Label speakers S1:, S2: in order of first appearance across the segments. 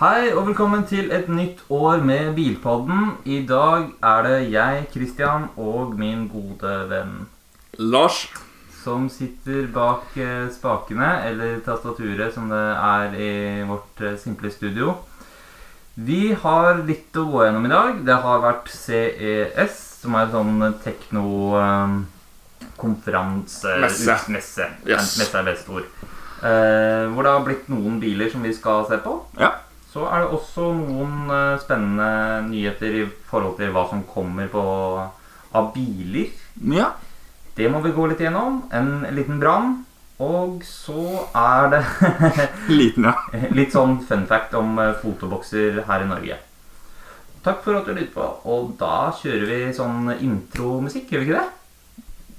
S1: Hei og velkommen til et nytt år med Bilpodden. I dag er det jeg, Christian, og min gode venn
S2: Lars.
S1: som sitter bak eh, spakene, eller tastaturet som det er i vårt eh, simple studio. Vi har litt å gå gjennom i dag. Det har vært CES, som er en sånn teknokonferanse
S2: Messe.
S1: Messe.
S2: Yes.
S1: Messe er best ord. Eh, hvor det har blitt noen biler som vi skal se på.
S2: Ja.
S1: Så er det også noen eh, spennende nyheter i forhold til hva som kommer på, av biler.
S2: ja.
S1: Det må vi gå litt gjennom. En liten brann. Og så er det
S2: Liten, ja.
S1: litt sånn fun fact om eh, fotobokser her i Norge. Takk for at du lyttet på, og da kjører vi sånn intromusikk, gjør vi ikke det?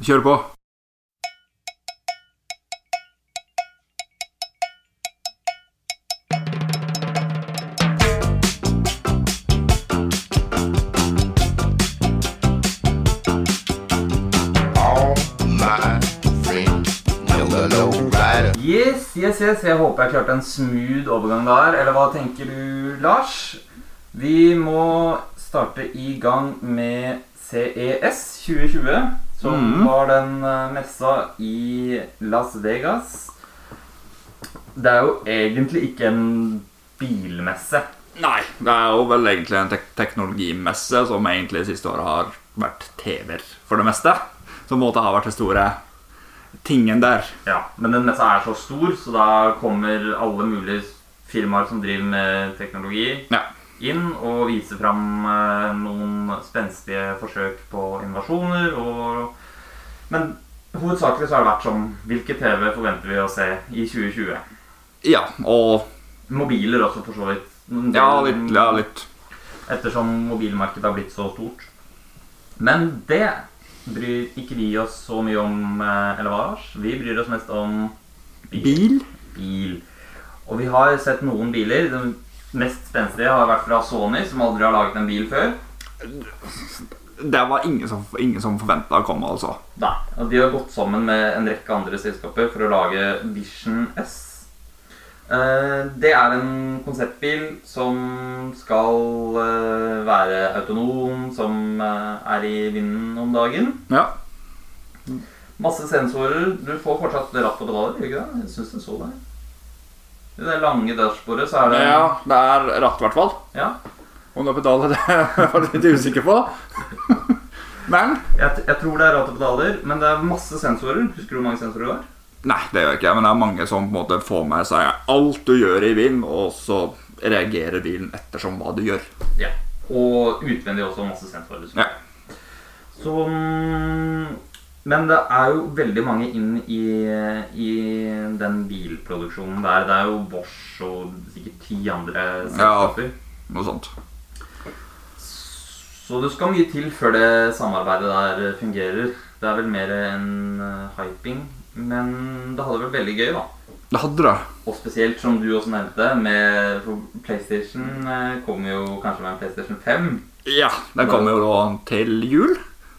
S2: Kjør på.
S3: all my friends know the low rider.
S1: Yes, yes, yes, jeg håper jeg klarte en smooth overgang der. Eller hva tenker du, Lars? Vi må starte i gang med E CES 2020, som
S2: Mhm.
S1: var den eh, messa i Las Vegas. Det er jo egentlig ikke en bilmesse.
S2: Nei, det er jo vel egentlig en tek teknologimesse som egentlig siste året har vært TV-er for det meste. Som på en måte har vært det store tingen der.
S1: Ja, Men den messa er så stor, så da kommer alle mulige firmaer som driver med teknologi,
S2: Ja.
S1: inn og vise fram eh, noen spenstige forsøk på innovasjoner. Og... Men hovedsakelig så har det vært sånn Hvilke TV forventer vi å se i 2020?
S2: ja og
S1: Mobiler også, for så vidt. Men det-
S2: ja, litt, ja, litt.
S1: Ettersom mobilmarkedet har blitt så stort. Men det bryr ikke vi oss så mye om, eh, eller hva, Lars? Vi bryr oss mest om
S2: Bil?
S1: bil. Og vi har sett noen biler. Den mest spenstige har vært fra Sony, som aldri har laget en bil før.
S2: Det var ingen som, ingen som forventa å komme, altså.
S1: Nei. Og de har gått sammen med en rekke andre selskaper for å lage Vision S. Eh, Det er en konseptbil som skal eh, være autonom, som eh, er i vinden om dagen.
S2: Ja.
S1: Masse sensorer. Du får fortsatt ratt og pedaler, gjør du ikke det? Jeg syns jeg så det. I det lange dashbordet så er det
S2: ja det er ratt, i hvert fall.
S1: Ja.
S2: Om det er pedaler, det er jeg litt usikker på. Men
S1: Jeg, t- jeg tror det er ratt og pedaler, men det er masse sensorer. Husker du hvor mange sensorer det var?
S2: Nei, det gjør jeg ikke, men det er mange som på en måte får med seg alt du gjør i bilen, og så reagerer bilen ettersom hva du gjør.
S1: Ja. Og utvendig også masse sensorer. liksom.
S2: Ja.
S1: Så mm, Men det er jo veldig mange inn i, i den bilproduksjonen der. Det er jo Bosch og sikkert ti andre selskaper.
S2: Noe sånt.
S1: Så det skal mye til før det samarbeidet der fungerer. Det er vel mer enn eh, hyping. Men det hadde vært veldig gøy, da.
S2: Det hadde det.
S1: Og spesielt, som du også nevnte, med for PlayStation eh, kommer jo kanskje med en PlayStation 5.
S2: Ja, den kommer jo da til jul,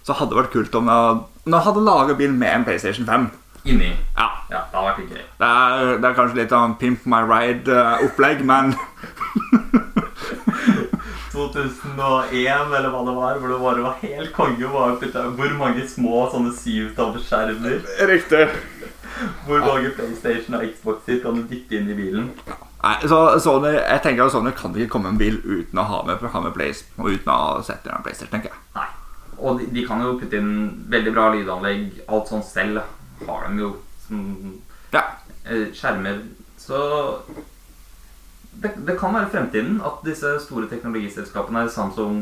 S2: så hadde det vært kult om jeg, om jeg hadde laget bilen med en PlayStation 5.
S1: Inni.
S2: Ja,
S1: Ja, det hadde vært litt gøy.
S2: det er, det er kanskje litt av en Pimp My Ride-opplegg, men
S1: 2001 eller hva det var, hvor det bare var helt konge var å putte hvor mange små sånne syvtommerskjermer,
S2: Riktig.
S1: hvor mange PlayStation og Xboxer kan du dytte inn i bilen.
S2: Nei, så Sony, jeg tenker at Sony kan ikke komme med en bil uten å ha med, ha med Blaze, og uten å sette inn en PlayStation, tenker jeg.
S1: Nei. Og de, de kan jo putte inn veldig bra lydanlegg, alt sånt selv har de jo som
S2: Ja,
S1: eh, skjermer. Så det, det kan være fremtiden at disse store teknologiselskapene, Samsung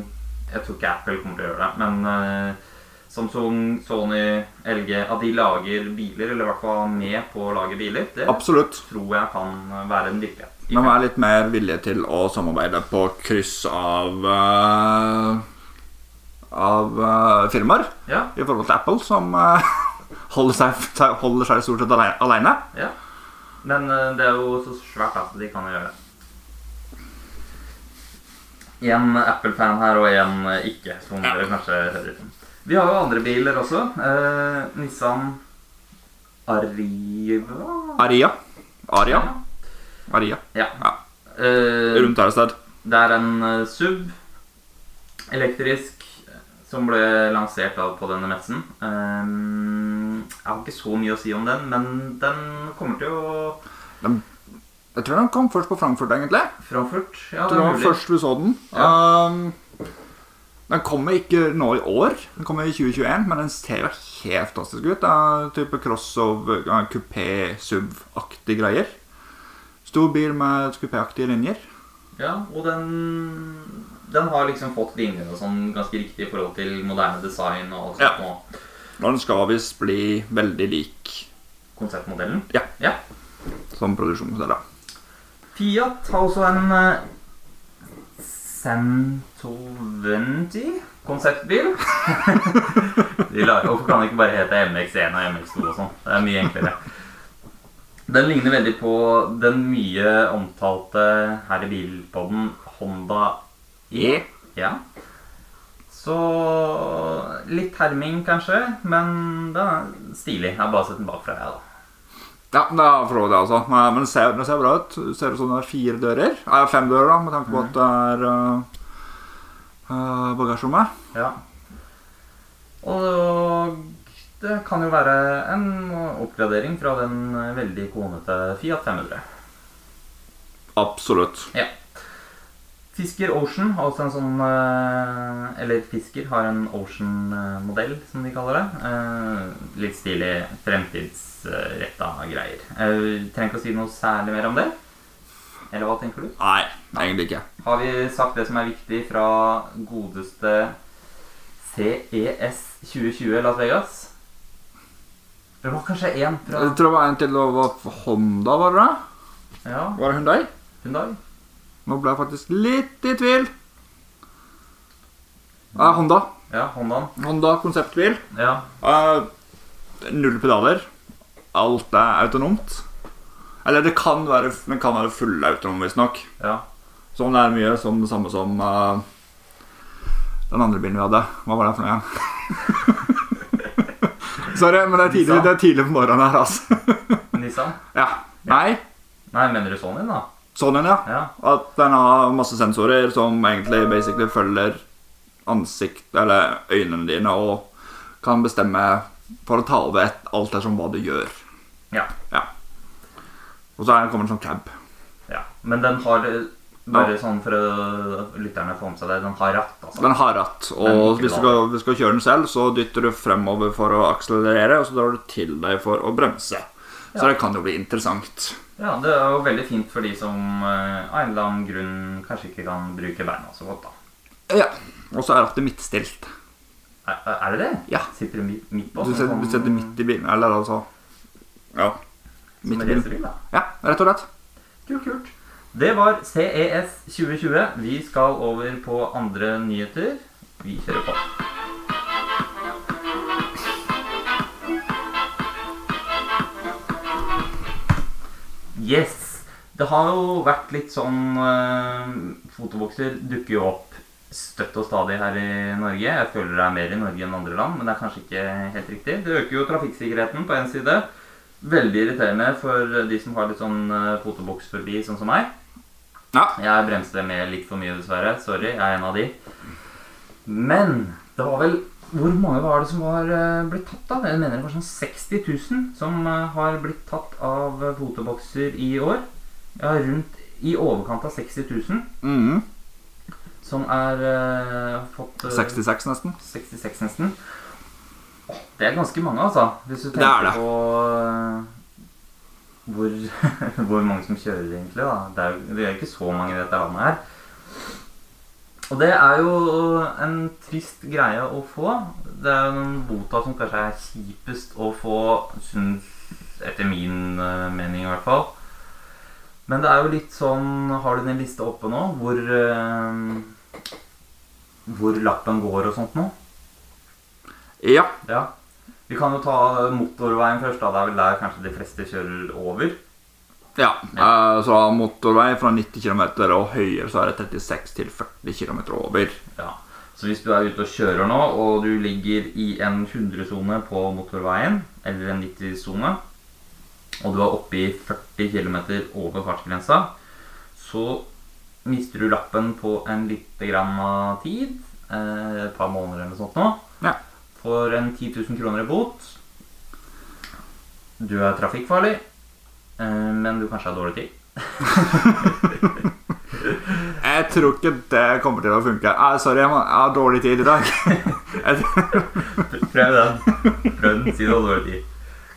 S1: Jeg tror ikke Apple kommer til å gjøre det, men eh, Samsung, Sony, LG At de lager biler, eller i hvert fall er med på å lage biler, det
S2: absolutt.
S1: tror jeg kan være en virkelighet.
S2: Man er litt mer villig til å samarbeide på kryss av eh, Av eh, firmaer.
S1: Ja,
S2: I forhold til Apple, som eh, holder, seg, seg- holder seg stort sett ale- alene.
S1: ja. Men eh, det er jo så svært at de kan gjøre det. En Apple-fan her og en eh, ikke, som
S2: Ja.
S1: dere kanskje hører. Vi har jo andre biler også. Eh, Nissan Arriva
S2: Aria. Aria. Aria.
S1: Ja.
S2: Ja.
S1: Eh,
S2: Rundt der et sted.
S1: Det er en eh, SUV elektrisk som ble lansert da på denne messen. Ehm, jeg har ikke så mye å si om den, men den kommer til å
S2: Jeg tror den kom først på Frankfurt, egentlig.
S1: Frankfurt. Ja, det
S2: Jeg tror det
S1: er
S2: var
S1: mulig.
S2: først vi så den. Um, den kommer ikke nå i år, den kommer i 2021, men den ser jo helt fantastisk ut. Det er type crossover, eh, coupé, SUV-aktig greier. Stor bil med coupé-aktige linjer.
S1: Ja, og den, den har liksom fått linjer og sånn ganske riktig i forhold til moderne design og alt
S2: Ja.
S1: sånt. Og
S2: Og den skal visst bli veldig lik
S1: konseptmodellen.
S2: Ja.
S1: ja.
S2: som produksjonsmodell. da.
S1: Fiat har også en eh, Centoventi konseptbil. De lar, hvorfor kan det ikke bare hete MX1 og MX2 og sånn? Det er mye enklere. Den ligner veldig på den mye omtalte her i bilpodden Honda E. Ja. Så litt herming, kanskje, men den er stilig. Jeg har bare sett den bakfra, jeg, da.
S2: Ja, det er for så vidt det, altså. Men men det ser, det ser bra ut. Det ser ut som det er fire dører. Eh, fem dører, da, med tanke på at det er eh, eh, bagasjerommet.
S1: Ja. Og det kan jo være en oppgradering fra den veldig konete Fiat 500.
S2: Absolutt.
S1: Fisker Ocean har også en sånn eh, Eller Fisker har en Ocean-modell, som de kaller det. Eh, Litt stilig, fremtidsretta greier. Eh, Trenger ikke å si noe særlig mer om det. Eller hva tenker du?
S2: Nei, egentlig ikke.
S1: Har vi sagt det som er viktig fra godeste CES 2020 Las Vegas? Det var kanskje én fra
S2: Jeg tror det var en til det var Honda, var det? det?
S1: ja,
S2: Var det Hyundai?
S1: Hyundai.
S2: Nå ble jeg faktisk litt i tvil. Nei, Honda.
S1: Ja, Hondaen.
S2: Honda konseptbil.
S1: Ja.
S2: Eh, null pedaler. Alt er autonomt. Eller det kan være, den kan være fullautonom, visstnok.
S1: ja.
S2: Sånn er mye som det samme som eh, den andre bilen vi hadde. Hva var det for noe igjen? Sorry, men det er tidlig, det er tidlig på morgenen her, altså.
S1: Nissan.
S2: Ja. Nei,
S1: Nei, mener du Sonyen, da?
S2: sånn en, ja.
S1: Ja.
S2: At den har masse sensorer som egentlig basically følger ansikt, eller øynene dine og kan bestemme for å ta over et- alt det som hva du gjør.
S1: ja.
S2: Og så er det- kommer det en sånn cab.
S1: ja. Men den har eh, Bare sånn for å lytterne får med seg det, den har ratt, altså.
S2: Den har ratt,
S1: Den
S2: og
S1: liker du
S2: hvis du, skal, hvis du skal kjøre den selv, så dytter du fremover for å akselerere, og så drar du til deg for å bremse. Så
S1: Ja.
S2: det kan jo bli interessant.
S1: Ja, Det er jo veldig fint for de som eh, av en eller annen grunn kanskje ikke kan bruke beina så godt, da.
S2: Ja. Og så er rattet midtstilt.
S1: Er, er det det?
S2: Ja.
S1: Sitter du mi- midt på?
S2: Du
S1: som
S2: setter, du
S1: sånn-
S2: setter midt i bilen, eller altså Ja.
S1: som
S2: Midt i
S1: en
S2: bilen.
S1: racerbil, da?
S2: Ja, rett og slett.
S1: Kult, kult. Det var E CES 2020. Vi skal over på andre nyheter. Vi kjører på. Yes. Det har jo vært litt sånn eh, Fotobokser dukker jo opp støtt og stadig her i Norge. Jeg føler det er mer i Norge enn andre land, men det er kanskje ikke helt riktig. Det øker jo trafikksikkerheten på én side. Veldig irriterende for de som har litt sånn eh, fotoboksfobi, sånn som meg.
S2: Ja.
S1: Jeg bremste med litt for mye, dessverre. Sorry, jeg er en av de. Men det var vel Hvor mange var det som var eh, blitt tatt, da? Jeg mener det var sånn 60 000 som eh, har blitt tatt av eh, fotobokser i år. Ja, rundt i overkant av 60 000
S2: Mhm.
S1: som er eh, fått eh,
S2: 66 nesten.
S1: 66 nesten. Åh, Det er ganske mange, altså. Hvis du
S2: Det
S1: tenker
S2: er det.
S1: på eh, hvor, hvor mange som kjører, egentlig. da. Det er, jo- det er jo ikke så mange i dette landet her. Og det er jo en trist greie å få. Det er jo den bota som kanskje er kjipest å få, syns etter min eh, mening i hvert fall. Men det er jo litt sånn Har du den lista oppe nå hvor eh, Hvor lappen går og sånt nå?
S2: Ja.
S1: Ja. Vi kan jo ta motorveien først. da Det er vel der kanskje de fleste kjører over.
S2: ja. Eh, Så motorvei fra 90 km og høyere så er det 36 til 40 km over.
S1: Ja. Så hvis du er ute og kjører nå, og du ligger i en 100-sone på motorveien, eller en 90-sone, og du er oppe i 40 km over fartsgrensa, Så mister du lappen på en lite grann av tid, eh, et par måneder eller noe sånt nå,
S2: Ja.
S1: for en 10 000 kroner i bot. Du er trafikkfarlig, eh, men du kanskje har dårlig tid.
S2: Jeg tror ikke det kommer til å funke. Ah, sorry, jeg må- jeg har dårlig tid i dag.
S1: Prøv den. Prøv den, si du har dårlig tid.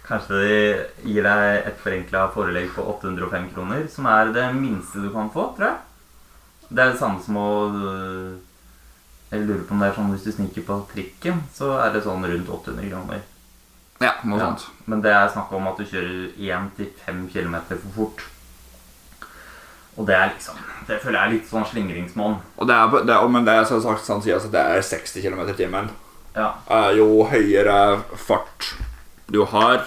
S1: Kanskje de gir deg et forenkla forelegg på 805 kroner, som er det minste du kan få, tror jeg. Det er det samme som å øh, Jeg lurer på om det er sånn hvis du sniker på trikken, så er det sånn rundt 800 kroner.
S2: ja, noe
S1: Ja.
S2: sånt.
S1: Men det er snakk om at du kjører 1-5 km for fort. Og det er liksom Det føler jeg er litt sånn slingringsmonn.
S2: Og det er, på- det, og- men det er som sagt sånn sies at det er 60 km i timen.
S1: Ja.
S2: Eh, jo høyere fart du har,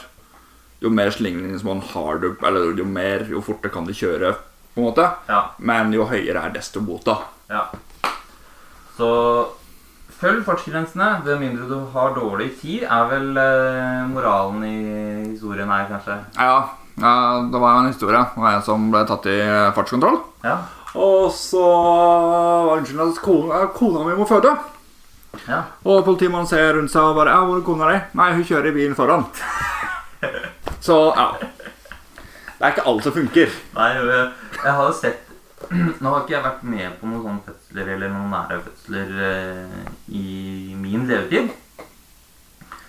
S2: jo mer slingringsmonn har du, eller jo mer, jo fortere kan du kjøre, på en måte.
S1: ja.
S2: Men jo høyere er desto bot, da.
S1: Ja. Så følg fartsgrensene. Med mindre du har dårlig tid, er vel eh, moralen i historien her, kanskje.
S2: Ja, ja, det var en historie. Det var en som ble tatt i eh, fartskontroll.
S1: Ja.
S2: Og så var unnskyld at kona, kona mi må føde.
S1: ja.
S2: Og politimannen ser rundt seg og bare Ja, hvor er kona di? Nei, hun kjører i bilen foran. Så ja. Det er ikke alt som funker.
S1: Nei, jeg jeg har jo sett Nå har ikke jeg vært med på noen sånne fødsler eller noen nære fødsler eh, i min levetid.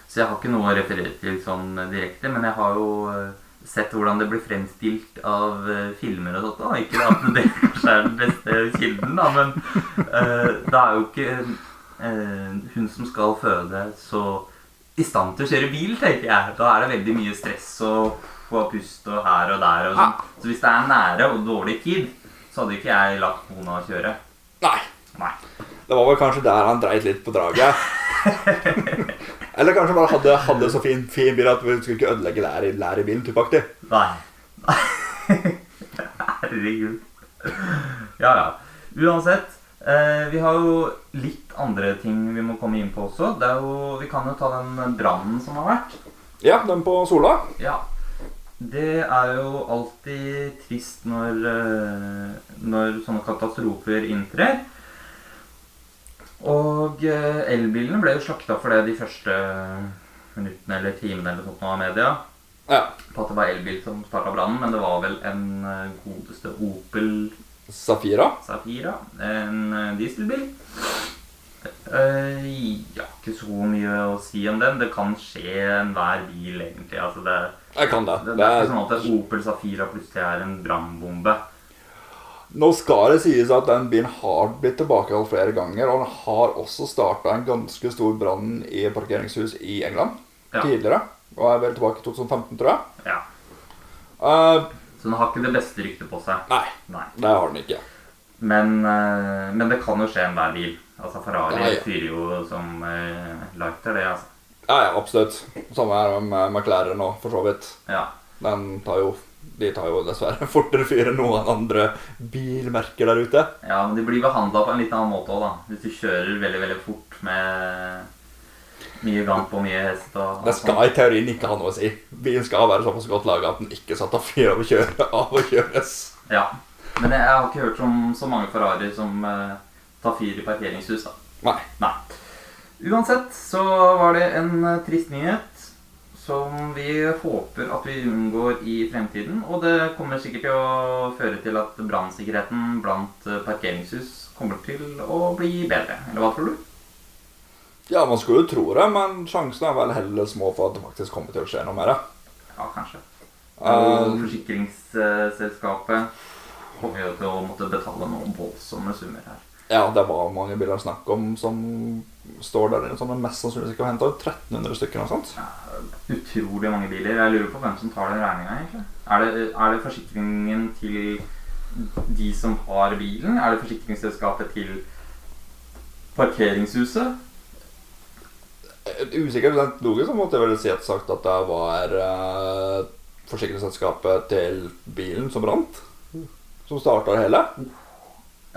S1: Så jeg har ikke noe å referere til sånn direkte, men jeg har jo eh, sett hvordan det blir fremstilt av eh, filmer og sånt. Da. Ikke at det kanskje er den beste kilden, da, men eh, det er jo ikke eh, hun som skal føde, så i stand til å kjøre bil, tenker jeg. Da er det veldig mye stress og få pust og her og der og sånn. Så hvis det er nære og dårlig tid, så hadde ikke jeg latt kona kjøre.
S2: Nei.
S1: Nei.
S2: Det var vel kanskje der han dreit litt på draget. Eller kanskje bare hadde, hadde så fin, fin bil at vi skulle ikke ødelegge lær i, lær i bilen. Typaktig.
S1: Nei. Herregud. Ja, ja. Uansett, eh, vi har jo litt andre ting vi må komme inn på også. Det er jo, vi kan jo ta den brannen som har vært.
S2: Ja, den på Sola.
S1: Ja. Det er jo alltid trist når, eh, når sånne katastrofer inntrer. Og eh, elbilene ble jo slakta for det de første minuttene eller timene eller sånt nå av media.
S2: Ja.
S1: På at det var elbil som starta brannen, men det var vel en eh, godeste Opel
S2: Safira.
S1: Safira. En eh, dieselbil. Eh, ja, ikke så mye å si om den. Det kan skje enhver bil, egentlig. Altså, det
S2: Jeg kan det.
S1: det, det er ikke sånn at Opel Safira plutselig er en brannbombe.
S2: Nå skal det sies at den bilen har blitt tilbakeholdt flere ganger, og den har også starta en ganske stor brann i et parkeringshus i England
S1: Ja.
S2: tidligere. Og er vel tilbake i 2015, tror jeg.
S1: Ja.
S2: Eh,
S1: Så den har ikke det beste ryktet på seg.
S2: nei,
S1: Nei.
S2: det har den ikke.
S1: Men, eh, men det kan jo skje enhver bil. Altså Ferrari
S2: Ja, ja.
S1: fyrer jo som eh, lighter, det, altså.
S2: Ja, ja, absolutt. Samme her med McLaren nå, for så vidt.
S1: Ja.
S2: Den tar jo, de tar jo dessverre fortere fyr enn noen andre bilmerker der ute.
S1: ja, men de blir behandla på en litt annen måte òg, da. Hvis du kjører veldig, veldig fort med mye gamp og mye hest og
S2: Det skal i teorien ikke ha noe å si. Bilen skal være såpass godt laga at den ikke satt av fyr av å kjøre- av å kjøres.
S1: Ja. Men jeg har ikke hørt om så mange Ferrari som eh, tar fyr i parkeringshus, da.
S2: Nei.
S1: Nei. Uansett så var det en eh, trist nyhet som vi håper at vi unngår i fremtiden. Og det kommer sikkert til å føre til at brannsikkerheten blant eh, parkeringshus kommer til å bli bedre. Eller hva tror du?
S2: Ja, man skulle jo tro det, men sjansene er vel heller små for at det faktisk kommer til å skje noe mer.
S1: Ja, kanskje. Og
S2: Eh,
S1: forsikringsselskapet kommer jo til å måtte betale noen voldsomme summer her.
S2: ja, det var mange biler snakk om som står der inne, som er mest sannsynlig ikke har henta ut 1300 stykker. Noe sånt.
S1: Utrolig mange biler. Jeg lurer på hvem som tar den regninga, egentlig. Er det, er det forsikringen til de som har bilen? Er det forsikringsselskapet til parkeringshuset?
S2: Et Usikkert men logisk så måtte jeg vel si at sagt at det var eh, forsikringsselskapet til bilen som brant, som starta det hele.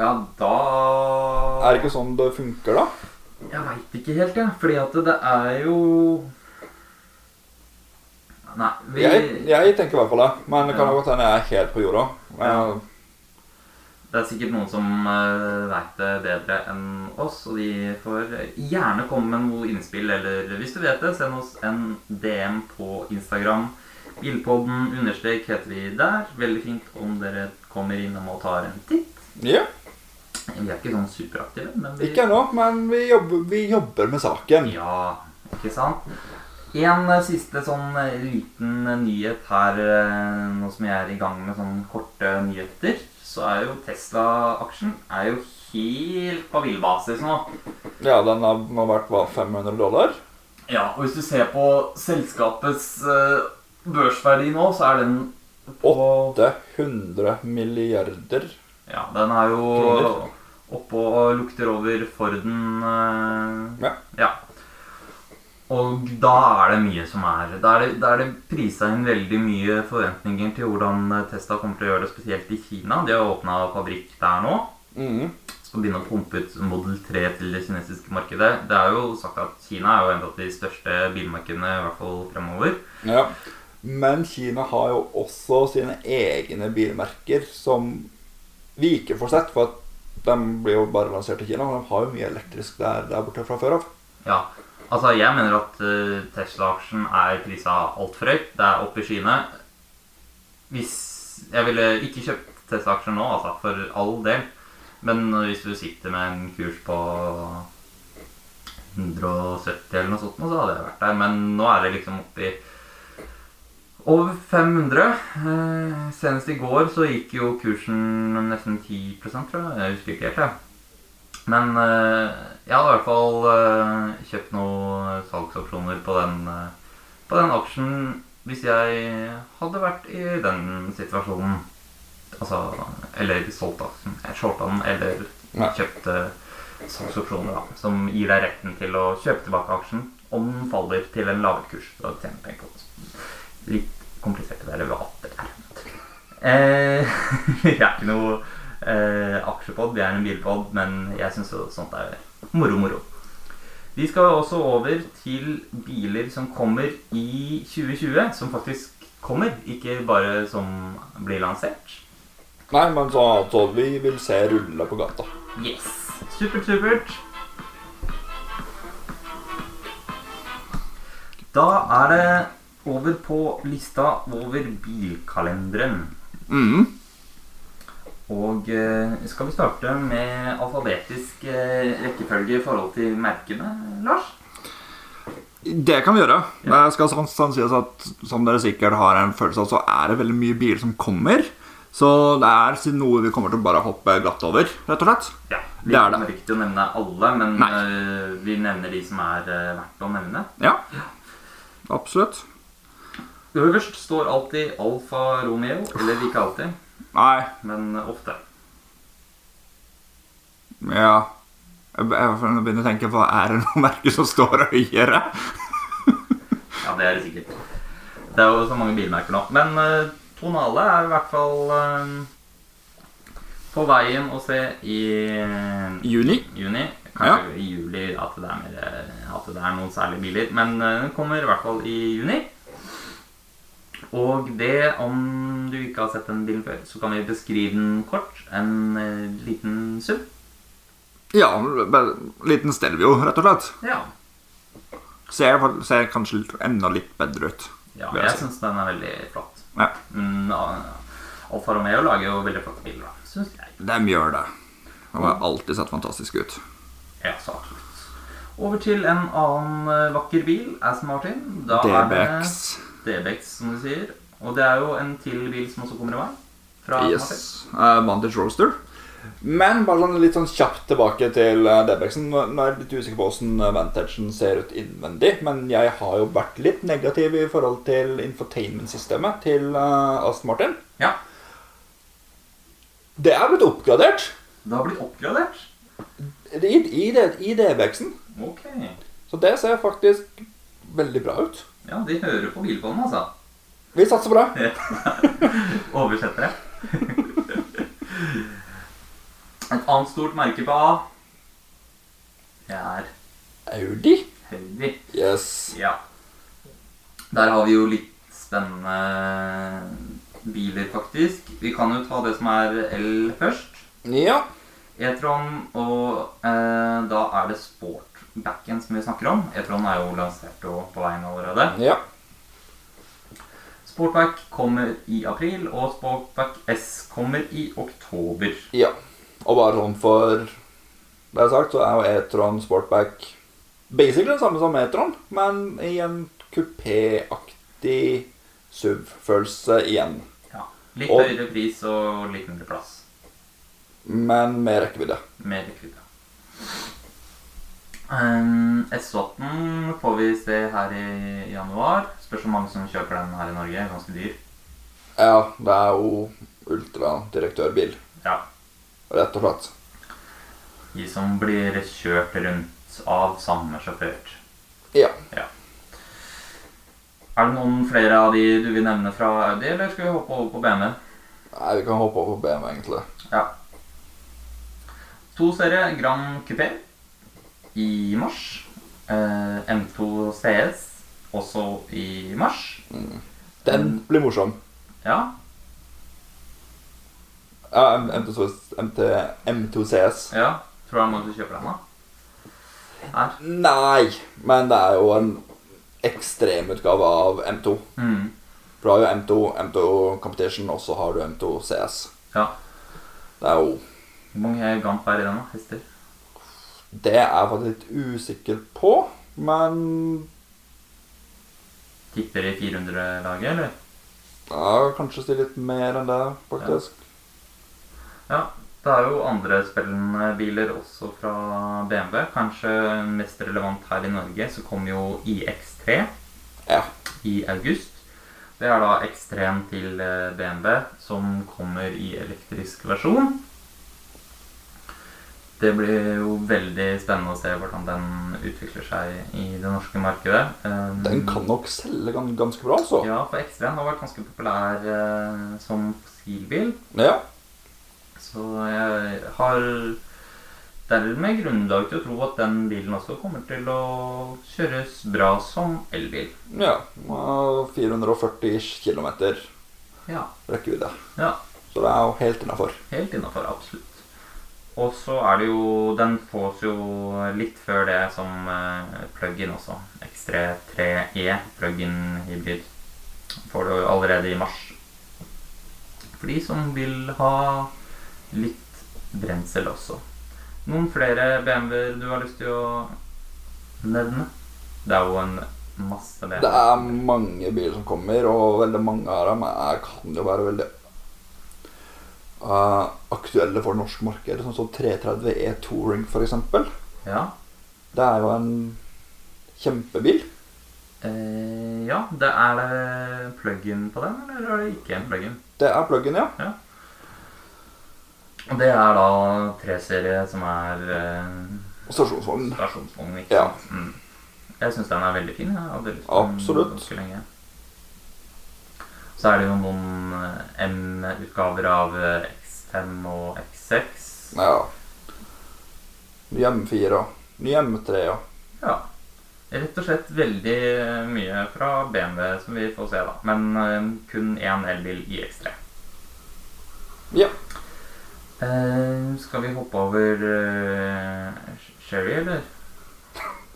S1: Ja, da
S2: Er det ikke sånn det funker, da?
S1: Jeg veit ikke helt, jeg. Fordi at det er jo Nei, vi
S2: Jeg, jeg tenker i hvert fall det, men det kan godt hende jeg er helt på jorda. Men,
S1: Det er sikkert noen som uh, veit det bedre enn oss, og de får gjerne komme med noe innspill. Eller hvis du vet det, send oss en DM på Instagram. Bilpodden understrek heter vi der. Veldig fint om dere kommer innom og tar en titt.
S2: Ja,
S1: Vi er ikke sånn superaktive, men vi
S2: Ikke ennå, men vi jobber, vi jobber med saken.
S1: Ja, ikke sant? En eh, siste sånn eh, liten eh, nyhet her, eh, nå som jeg er i gang med sånne korte nyheter, så er jo Tesla-aksjen er jo helt på villbasis nå.
S2: Ja, den har må ha vært hva, 500 dollar.
S1: Ja, og hvis du ser på selskapets eh, børsverdi nå, så er den på
S2: 800 milliarder.
S1: Ja, den er jo
S2: Kroner.
S1: oppå og lukter over Forden eh,
S2: Ja.
S1: ja. Og da er det mye som er Da er det, da er det prisa inn veldig mye forventninger til hvordan Testa kommer til å gjøre det, spesielt i Kina. De har åpna fabrikk der nå.
S2: Mhm.
S1: Skal begynne å pumpe ut Model 3 til det kinesiske markedet. Det er jo sagt at Kina er jo en av de største bilmarkedene, i hvert fall fremover.
S2: ja. Men Kina har jo også sine egne bilmerker som vi ikke får sett, for at de blir jo bare lansert i Kina. Men de har jo mye elektrisk der, der borte fra før av.
S1: Ja. Altså, jeg mener at eh, Tesla-aksjen er prisa altfor høyt. Det er opp i skyene. Hvis Jeg ville ikke kjøpt Tesla-aksjer nå, altså, for all del. Men eh, hvis du sitter med en kurs på 170 eller noe sånt, nå, så hadde jeg vært der. Men nå er det liksom oppi over 500. Eh, senest i går så gikk jo kursen nesten 10 tror jeg. Jeg husker ikke helt, jeg. Men eh, jeg hadde i hvert fall eh, kjøpt noen eh, salgsopsjoner på den, eh, på den aksjen hvis jeg hadde vært i den situasjonen. Altså Eller solgt aksjen. eh, Shorta den, eller
S2: Ja.
S1: kjøpt eh, salgsopsjoner, da. Som gir deg retten til å kjøpe tilbake aksjen om den faller til en lavere kurs. Da tjener du penger på det. Litt komplisert å være ved at det er. Eh, vi er ikke noe eh, aksjepod, vi er en bilpod, men jeg syns sånt er moro, moro. Vi skal også over til biler som kommer i 2020, som faktisk kommer, ikke bare som blir lansert.
S2: Nei, men så, så vi vil se rulle på gata.
S1: Yes! Supert, supert. Da er det over på lista over bilkalenderen.
S2: Mhm.
S1: Og eh, skal vi starte med alfabetisk eh, rekkefølge i forhold til merkene, Lars?
S2: Det kan vi gjøre. Det skal sånn, sånn sies at Som dere sikkert har en følelse av, så er det veldig mye biler som kommer. Så det er si- noe vi kommer til å bare hoppe glatt over, rett og slett.
S1: Ja, Vi
S2: Det er det.
S1: kommer ikke til å nevne alle, men
S2: Nei.
S1: eh, vi nevner de som er eh, verdt å nevne.
S2: Ja. Absolutt.
S1: Øverst står alltid Alfa Romeo, eller ikke alltid,
S2: Nei,
S1: men ofte.
S2: ja Jeg be- jeg begynner å tenke hva er det noe merke som står høyere?
S1: Ja, det er det sikkert. Det er jo så mange bilmerker nå. Men eh, Tonale er i hvert fall eh, på veien å se i eh,
S2: Juni.
S1: juni.
S2: Ja.
S1: Kanskje i juli at det, er mer, at det er noen særlige biler. Men eh, den kommer i hvert fall i juni. Og det, om du ikke har sett den bilen før, så kan vi beskrive den kort. En eh, liten SUV.
S2: Ja, bare en liten Stelvio, rett og slett.
S1: Ja.
S2: Ser, ser kanskje litt- enda litt bedre ut.
S1: ja
S2: Vil
S1: jeg
S2: jeg si.
S1: syns den er veldig flott.
S2: Ja,
S1: Mm, ja, Alfa Romeo lager jo veldig flotte biler, da. Syns jeg.
S2: de gjør det. De har alltid sett fantastiske ut.
S1: Ja, så absolutt. Over til en annen eh, vakker bil, Aston Martin. Da er det
S2: DBX.
S1: DBX, som du sier. Og det er jo en til bil som også kommer i vei. Fra Aston Martin.
S2: Yes. Uh, Vantage Roaster. Men bare sånn litt sånn kjapt tilbake til eh, DBX-en. Nå nå er jeg litt usikker på hvordan eh, Vantagen ser ut innvendig, men jeg har jo vært litt negativ i forhold til infotainment-systemet til eh, Aston Martin.
S1: Ja,
S2: Det er blitt oppgradert
S1: det har blitt oppgradert.
S2: i, i, det- i DBX-en,
S1: Ok.
S2: så det ser faktisk veldig bra ut.
S1: Ja, de hører på bilbåndet, altså.
S2: Vi satser på det.
S1: Oversettere. Et annet stort merke på A Det er
S2: Audi.
S1: Audi.
S2: Yes.
S1: Ja. Der har vi jo litt spennende biler, faktisk. Vi kan jo ta det som er L først.
S2: Ja.
S1: E-tron, og eh, da er det sportbacken som vi snakker om. E-tron er jo lansert og på veien allerede.
S2: ja.
S1: Sportback kommer i april, og Sportback S kommer i oktober.
S2: Ja. Og bare sånn for det er sagt, så er jo E-tron Sportback basically det samme som E-tron, men i en kupéaktig SUV-følelse igjen.
S1: Ja. Litt
S2: Og-
S1: høyere pris og litt mindre plass.
S2: Men med rekkevidde.
S1: Med rekkevidde. Um, S18 får vi se her i januar. Spørs hvor mange som kjøper den her i Norge. Ganske dyr.
S2: Ja, det er jo ultradirektørbil,
S1: Ja.
S2: rett og slett.
S1: De som blir kjørt rundt av samme sjåfør.
S2: Ja.
S1: Er det noen flere av de du vil nevne fra Audi, eller skal vi hoppe over på BMW?
S2: Nei, vi kan hoppe over på BMW, egentlig.
S1: Ja. To serie Grand Coupé i mars. Eh, M2 CS også i mars.
S2: Den blir morsom.
S1: Ja,
S2: Ja, M- M2- MT M2CS.
S1: Ja, tror du han måtte kjøpe den da? Her.
S2: Nei, men det er jo en ekstremutgave av M2.
S1: Mm.
S2: For du har jo M2, M2 Competition, og så har du M2 CS.
S1: Ja.
S2: Det er jo
S1: Hvor mange gamp er i den da, hester?
S2: Det er jeg faktisk litt usikker på, men
S1: Tipper i 400-laget, eller?
S2: ja, kanskje si litt mer enn det, faktisk.
S1: Ja, det er jo andre spillende biler også fra BMW. Kanskje mest relevant her i Norge, så kommer jo iX3
S2: Ja.
S1: i august. Det er da X3-en til eh, BMW, som kommer i elektrisk versjon. Det blir jo veldig spennende å se hvordan den utvikler seg i det norske markedet. Um,
S2: Den kan nok selge gan- ganske bra, altså.
S1: Ja, for X3-en har vært ganske populær eh, som fossilbil.
S2: Ja.
S1: Så jeg har dermed grunnlag til å tro at den bilen også kommer til å kjøres bra som elbil.
S2: ja. Og 440 ish kilometer
S1: Ja.
S2: rekkevidde.
S1: ja.
S2: Så det er jo helt innafor.
S1: Helt innafor, absolutt. Og så er det jo Den fås jo litt før det som eh, plug-in også. X3 3E plug-in hybrid. Får du jo allerede i mars. For de som vil ha litt brensel også. Noen flere BMW-er du har lyst til å nevne? Det er jo en masse
S2: Det
S1: BMW.
S2: er mange biler som kommer, og veldig mange av dem er, kan jo være veldig eh, aktuelle for det norske markedet. Sånn som 330 E Touring, f.eks.
S1: Ja.
S2: Det er jo en kjempebil.
S1: Eh, ja, det er det plug-in på den, eller er det ikke en plug-in?
S2: Det er plug-in, ja.
S1: Og Det er da treserie som er eh,
S2: Og stasjonsvogn.
S1: stasjonsvogn, ikke
S2: Ja.
S1: sant? Mm. Jeg syns den er veldig fin. Jeg hadde lyst på den
S2: Absolutt.
S1: ganske lenge. Så er det jo noen eh, M-utgaver av eh, X5 og X6.
S2: Ja. Ny M4 og ny M3 og
S1: Ja. Rett og slett veldig mye fra BMW som vi får se, da. Men eh, kun én elbil i X3.
S2: Ja.
S1: Eh, skal vi hoppe over eh, Sherry, eller?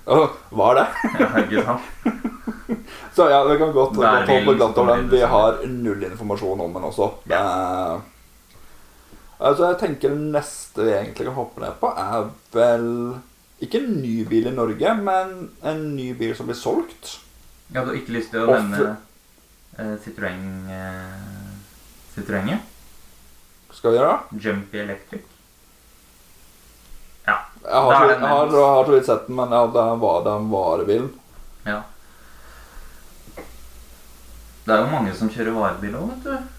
S2: Åh, Hva er det?
S1: Ja, ikke sant?
S2: Så ja, vi kan godt
S1: Det er liksom.
S2: godt hoppe
S1: bilen
S2: glatt
S1: som
S2: over den.
S1: kommer
S2: Vi
S1: inn,
S2: har null informasjon om den også. Det er... Altså, jeg tenker det neste vi egentlig kan hoppe ned på, er vel Ikke en ny bil i Norge, men en ny bil som blir solgt.
S1: Jeg hadde ikke lyst til å
S2: Og
S1: nevne
S2: fl-
S1: eh, Citroën eh, Citroën, ja.
S2: Skal vi gjøre det?
S1: Jumpy Electric.
S2: Jeg
S1: Da er
S2: har, så-
S1: den
S2: jeg har,
S1: nevnt.
S2: har så vidt sett den, men ja, det var den varebilen.
S1: Ja. Det er jo mange som kjører varebil òg, vet du.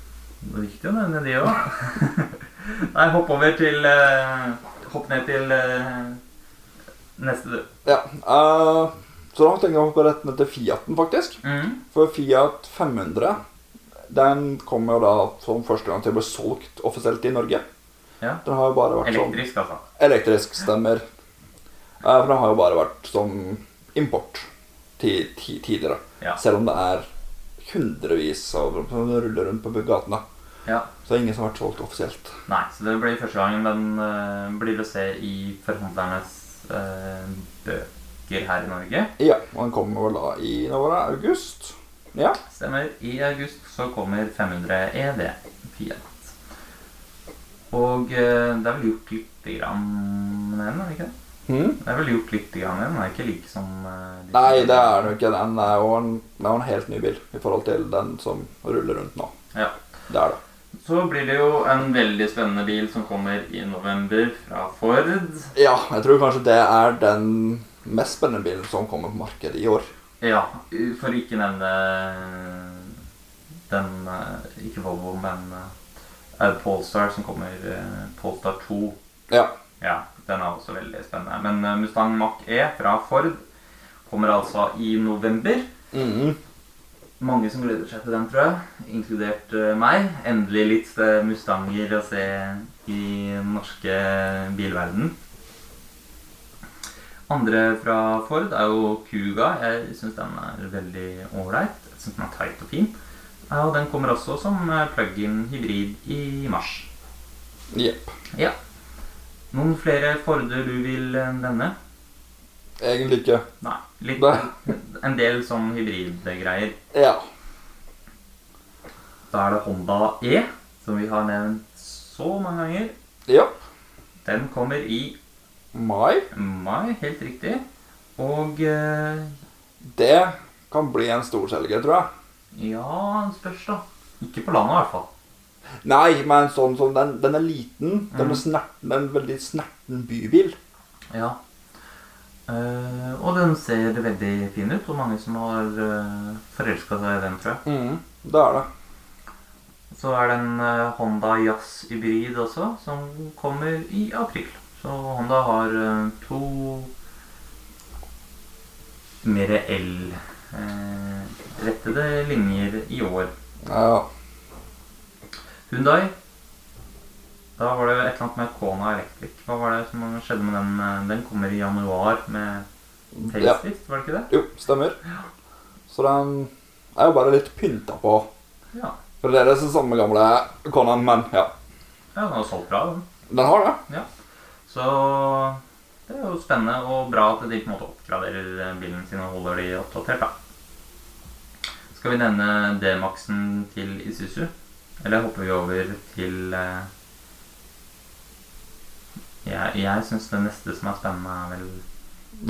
S1: Det er viktig å nevne de òg. Nei, hopp over til eh, Hopp ned til eh, neste, du.
S2: Ja, eh, så da tenker jeg å hoppe rett ned til Fiaten, faktisk.
S1: Mm.
S2: For Fiat 500 den kom jo da som første gang til å bli solgt offisielt i Norge.
S1: Ja.
S2: Den har jo bare vært sånn
S1: Elektrisk, altså.
S2: Elektrisk stemmer. Eh, For det har jo bare vært som import ti, ti, tidligere.
S1: Ja.
S2: Selv om det er hundrevis av som ruller rundt på gatene.
S1: Ja.
S2: Så det er ingen som har vært solgt offisielt.
S1: Nei, så det blir første gangen den eh, blir å se i forhandlernes eh, bøker her i Norge.
S2: Ja, og den kommer vel da i nå var det august. Ja.
S1: Stemmer. I august så kommer 500 EV Fiat. Og eh, det er vel gjort lite grann med den, er det ikke det?
S2: Hmm?
S1: Det er vel gjort lite grann med den, den er ikke like som eh, de
S2: Nei,
S1: tidligere.
S2: det er den jo ikke. Den er jo en, den er jo en helt ny bil i forhold til den som ruller rundt nå.
S1: Ja.
S2: Det er det.
S1: Så blir det jo en veldig spennende bil som kommer i november fra Ford.
S2: Ja, jeg tror kanskje det er den mest spennende bilen som kommer på markedet i år.
S1: Ja, for ikke nevne eh, den eh, Ikke Volvo, men eh, eh, Polestar som kommer. eh, Polestar 2.
S2: Ja.
S1: Ja, den er også veldig spennende. Men eh, Mustang Mach E fra Ford kommer altså i november.
S2: Mhm.
S1: Mange som gleder seg til den, tror jeg. Inkludert eh, meg. Endelig litt eh, Mustanger å se i den norske bilverden. Andre fra Ford er jo Kuga. Jeg syns den er veldig ålreit. Jeg syns den er tight og fin. Ja, Og den kommer også som eh, plug-in hybrid i mars.
S2: Jepp.
S1: Ja. Noen flere Forder du vil eh, enn denne?
S2: Egentlig ikke.
S1: Nei. Litt,
S2: Nei.
S1: en del sånn hybridgreier.
S2: Ja.
S1: Da er det Honda E, som vi har nevnt så mange ganger.
S2: Jepp.
S1: Den kommer i
S2: Mai.
S1: mai, helt riktig. Og eh,
S2: Det kan bli en storselger, tror jeg.
S1: ja, spørs, da. Ikke på landet, i hvert fall.
S2: Nei, men sånn som den, den er liten. Den
S1: Mhm.
S2: er snerten, en veldig snerten bybil.
S1: Ja. Eh, og den ser veldig fin ut, og mange som har uh, forelska seg i den, tror jeg.
S2: Det er det.
S1: Så er det en eh, Honda Jazz Hybrid også, som kommer i april. Så Honda har eh, to mer el-rettede eh, linjer i år.
S2: Ja.
S1: Hyundai, da var det et eller annet med Kona Electric. Hva var det som skjedde med den? eh, Den kommer i januar med
S2: ja.
S1: facelift, var det ikke det?
S2: Jo, stemmer. Så den er jo bare litt pynta på.
S1: Ja.
S2: For det er det samme gamle Conan, men ja.
S1: ja, den har solgt bra, den.
S2: Den har det.
S1: Så det er jo spennende og bra at de på en måte oppgraderer eh, bilen sin og holder de oppdatert, da. Skal vi nevne D-Maxen til Isuzu? Eller hopper vi over til eh, Jeg, jeg syns det neste som er spennende, er vel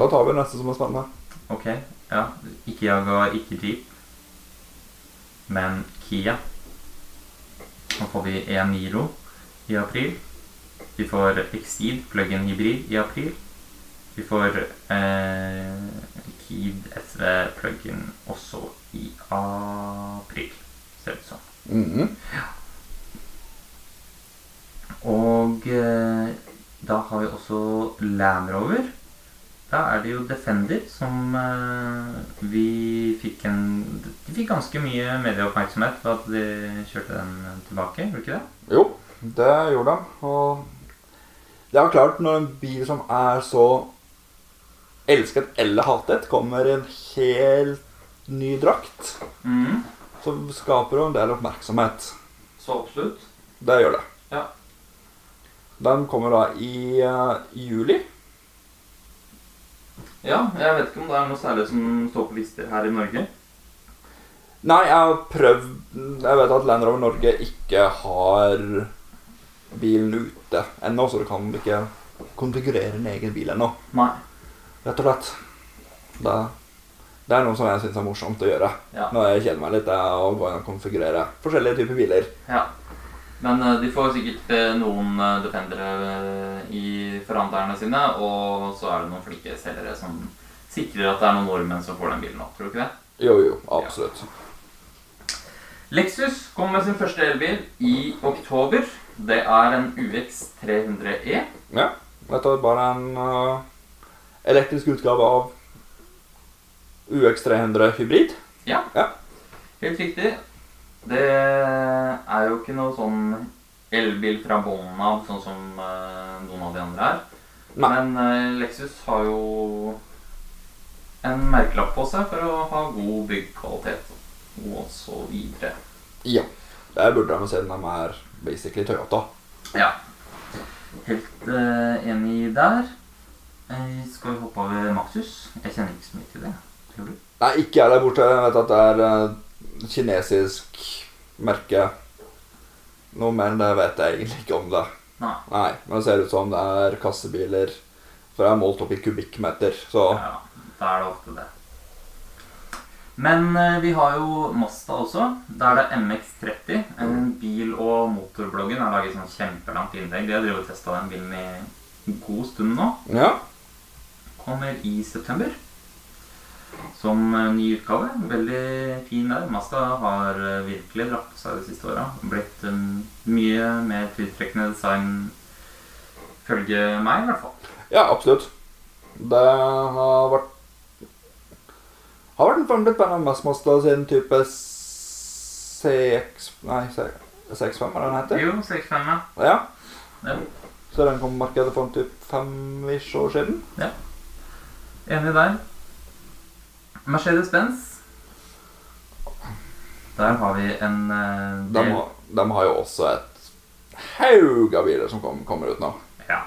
S2: Da tar vi neste som er spennende.
S1: OK. Ja, ikke Jaguar, ikke Jeep, men Kia. Nå får vi E-Niro i april. Vi får Exceed plug-in hybrid i april. Vi får eh, Kid SV plug-in også i april, ser det ut som.
S2: Mhm.
S1: Og eh, da har vi også Land Rover. Da er det jo Defender som eh, vi fikk en De fikk ganske mye medieoppmerksomhet for at de kjørte den tilbake, gjorde de ikke det?
S2: Jo, det gjorde den. Og det er jo klart, når en bil som er så elsket eller hatet, kommer i en helt ny drakt,
S1: Mm.
S2: så skaper det jo en del oppmerksomhet.
S1: Så absolutt.
S2: Det gjør det.
S1: Ja.
S2: Den kommer da i eh, juli.
S1: Ja, jeg vet ikke om det er noe særlig som står på lister her i Norge.
S2: Nei, jeg har prøvd Jeg vet at Land Rover Norge ikke har bilen ute ennå, så du kan ikke konfigurere en egen bil ennå,
S1: Nei.
S2: rett og slett. Det, det er noe som jeg syns er morsomt å gjøre
S1: Ja.
S2: når jeg kjeder meg litt. Det er å gå inn og konfigurere forskjellige typer biler.
S1: Ja. Men eh, de får sikkert eh, noen eh, defendere eh, i forhandlerne sine, og så er det noen flinke selgere som sikrer at det er noen nordmenn som får den bilen opp, tror du ikke det?
S2: Jo, jo, absolutt.
S1: Lexus kom med sin første elbil i oktober. Det er en UX 300E.
S2: Ja. Dette er bare en eh, elektrisk utgave av UX300 hybrid.
S1: Ja.
S2: Ja.
S1: Helt riktig. Det er jo ikke noe sånn elbil fra bånn av, sånn som eh, noen av de andre er.
S2: Nei.
S1: Men eh, Lexus har jo en merkelapp på seg for å ha god byggkvalitet og så videre.
S2: Ja. Der burde de se den de er basically Toyota.
S1: Ja. Helt eh, enig der. Eh, skal vi hoppe over Maxus? Jeg kjenner ikke så mye til det. Tror du?
S2: Nei, ikke jeg der borte. Jeg vet at det er eh, kinesisk merke. Noe mer enn det vet jeg egentlig ikke om det.
S1: Nei.
S2: Nei, men det ser ut som det er kassebiler. For det er målt opp i kubikkmeter, så
S1: Ja, da er det ofte det. Men eh, vi har jo Mazda også. Da er det MX30. En bil- og motorbloggen har laget sånn kjempelangt innlegg. De har drevet og testa den bilen i en god stund nå.
S2: ja.
S1: Kommer i september som eh, ny utgave. Veldig fin der. Mazda har eh, virkelig dratt på seg de siste åra. Blitt um, mye mer tiltrekkende design, følge meg i hvert fall.
S2: Ja, absolutt. Det har vært Har vært en form blitt banna mest Mazda sin type CX... Nei, C- CX5, er det den heter?
S1: Jo, 65, ja.
S2: Ja.
S1: Ja.
S2: Så den kom på markedet for en typ fem-ish år siden.
S1: Enig der. Mercedes-Benz. Der har vi en eh,
S2: De, har- de har jo også et haug av biler som kom, kommer ut nå.
S1: Ja.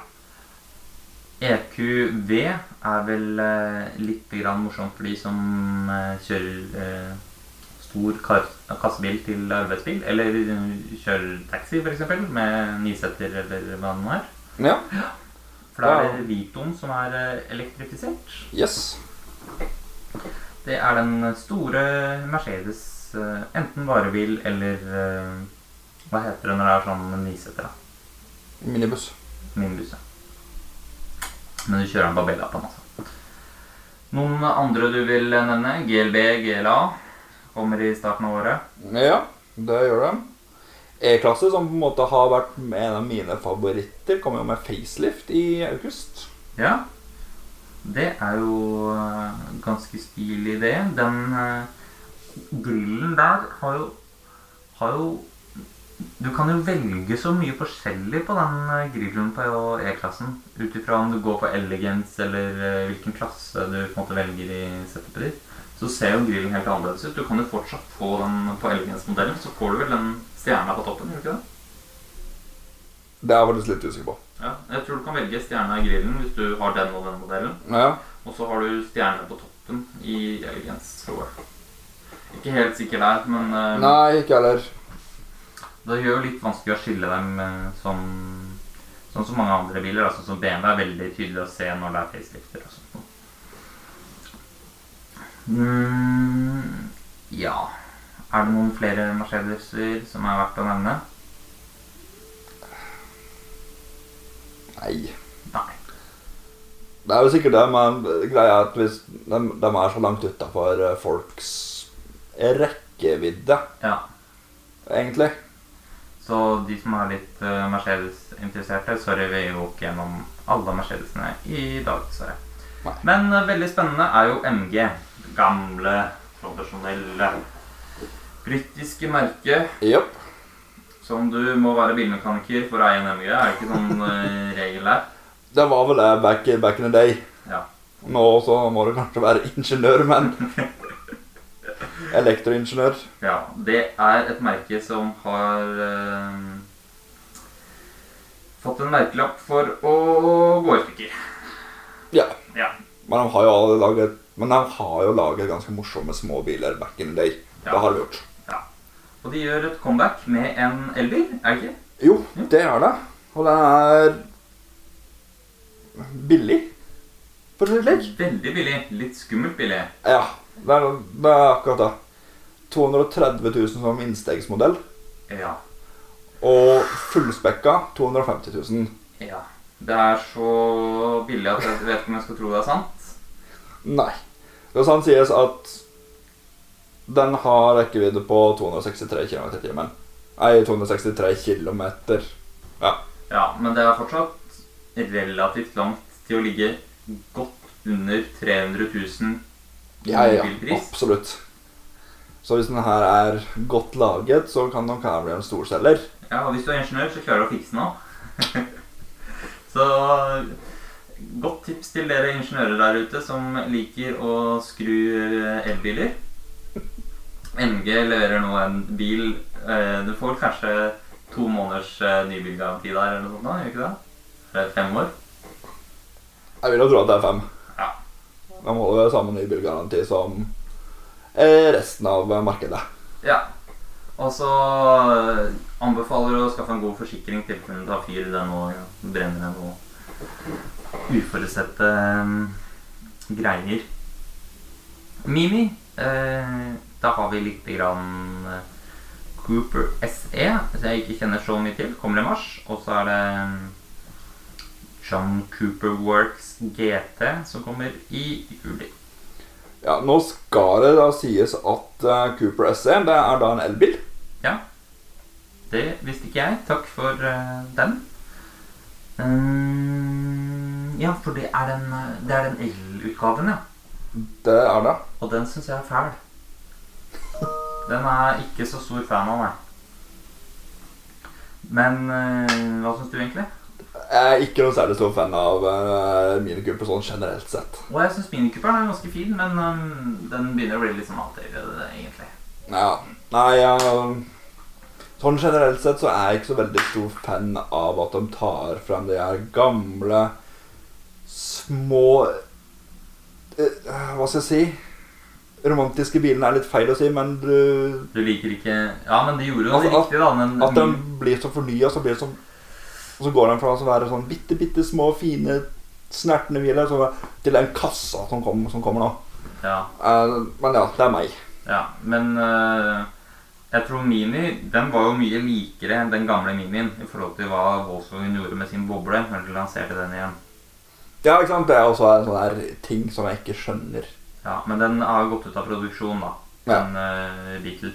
S1: EQV E er vel eh, litt grann morsomt for de som eh, kjører eh, stor kar kassebil til arbeidsbil, eller eh, kjører taxi f.eks. med niseter eller hva det nå er.
S2: Ja.
S1: For da er det Vitoen som er eh, elektrifisert.
S2: Yes.
S1: Det er den store Mercedes, eh, enten varebil eller eh, Hva heter det når det er sånn niseter? da?
S2: Minibuss.
S1: Minibuss. ja. Men du kjører den Babella på den, altså. Noen andre du vil nevne? GLB, GLA. Kommer i starten av året.
S2: Ja, det gjør de. E-klasse, som på en måte har vært en av mine favoritter, kom jo med facelift i august.
S1: Ja. Det er jo eh, ganske stilig, det. Den eh, grillen der har jo, har jo Du kan jo velge så mye forskjellig på den eh, grillen på E-klassen. Ut ifra om du går på elegance eller eh, hvilken klasse du på en måte velger i setupet ditt. Så ser jo grillen helt annerledes ut. Du kan jo fortsatt få den på elegance-modellen. Så får du vel den stjerna på toppen, gjør du ikke det?
S2: Det er jeg faktisk litt usikker på.
S1: Ja, Jeg tror du kan velge stjerna i grillen hvis du har den og den modellen.
S2: Ja.
S1: Og så har du stjerne på toppen i Elegance, tror jeg. Ikke helt sikker der, men eh,
S2: Nei, ikke heller.
S1: det gjør jo litt vanskelig å skille dem eh, som Sånn som mange andre biler, da, sånn som BMW er veldig tydelig å se når det er facelifter og sånt. Mm, ja Er det noen flere Mercedeser som er verdt å nevne?
S2: Nei.
S1: Nei.
S2: Det er jo sikkert det, men greia er at hvis de, de er så langt utafor folks rekkevidde,
S1: Ja.
S2: egentlig.
S1: Så de som er litt eh, Mercedes-interesserte, sorry, vi gikk gjennom alle Mercedesene i dag, dessverre.
S2: Nei.
S1: Men eh, veldig spennende er jo MG. Gamle, tradisjonelle britiske merke
S2: Jepp.
S1: som du må være bilmekaniker for å eie en MG. Er det ikke sånn eh, regel der?
S2: Det var vel det back, back in the day.
S1: Ja.
S2: Nå så må du kanskje være ingeniør, men Elektroingeniør.
S1: ja. Det er et merke som har eh, fått en merkelapp for å gå i stykker.
S2: Ja.
S1: Ja.
S2: Men de har jo alle laget Men de har jo laget ganske morsomme små biler back in the day.
S1: Ja.
S2: Det har de gjort.
S1: Og de gjør et comeback med en elbil, er det ikke?
S2: Jo, det har de. Og det er billig, for å si det slik.
S1: Veldig billig. Litt skummelt billig.
S2: Ja, det er, det er akkurat det. 230 000 som innstegsmodell,
S1: Ja.
S2: og fullspekka 250 000.
S1: ja. Det er så billig at jeg vet ikke om jeg skal tro det er sant.
S2: Nei. Det kan sies at den har rekkevidde på 263 km i timen. Nei, 263 km. Ja.
S1: Ja, men det er fortsatt relativt langt til å ligge godt under 300 000 i
S2: Ja, ja,
S1: bilpris.
S2: absolutt. Så hvis den her er godt laget, så kan den her bli en storselger.
S1: Ja, og hvis du er ingeniør, så klarer du å fikse den òg. så godt tips til dere ingeniører der ute som liker å skru eh, elbiler. MG leverer nå en bil eh, eh, Du får kanskje to måneders eh, nybilgaranti der, eller noe sånt, da, gjør ikke det? Eller fem år?
S2: Jeg vil jo tro at det er fem.
S1: Ja.
S2: Da må det være samme ny bilgaranti som eh, resten av markedet.
S1: Ja. Og så eh, anbefaler du å skaffe en god forsikring til kunne ta fyr i den og brenne ned noe uforutsette eh, greier. Mimi, eh, da har vi lite grann eh, Cooper SE, som jeg ikke kjenner så mye til. Kommer i mars. Og så er det eh, John Cooper Works GT, som kommer i juli.
S2: Ja, Nå skal det da sies at eh, Cooper SE det er da en elbil.
S1: Ja. Det visste ikke jeg. Takk for eh, den. Ehm, ja, for det er den, eh, det er den elutgaven, ja.
S2: Det er det.
S1: Og den syns jeg er fæl. Den er jeg ikke så stor fan av, nei. Men eh, hva syns du egentlig?
S2: Jeg er ikke noen særlig stor fan av uh, minikupper sånn generelt sett.
S1: Og jeg syns minikuperen er ganske fin, men ehm, den begynner å bli litt sånn outdated, egentlig.
S2: Ja. Nei, jeg- sånn generelt sett så er jeg ikke så veldig stor fan av at de tar frem de her gamle, små eh, Hva skal jeg si? Romantiske bilene er litt feil å si, men du
S1: Du liker ikke Ja, men de gjorde jo det
S2: Altså, at-
S1: riktig, da. Men
S2: At de blir så fornya, så blir det sånn Og så går de fra å være sånn bitte, bitte små, fine, snertne biler så til den kassa som, kom, som kommer nå.
S1: ja.
S2: Eh, men ja, det er meg.
S1: Ja, men eh, jeg tror Mini den var jo mye likere enn den gamle Minien i forhold til hva Volkswagen gjorde med sin boble når de lanserte den igjen.
S2: Ja, ikke sant? Det er også en sånn her ting som jeg ikke skjønner.
S1: Ja, Men den har jo gått ut av produksjon, da.
S2: Ja.
S1: Den eh, Beetle.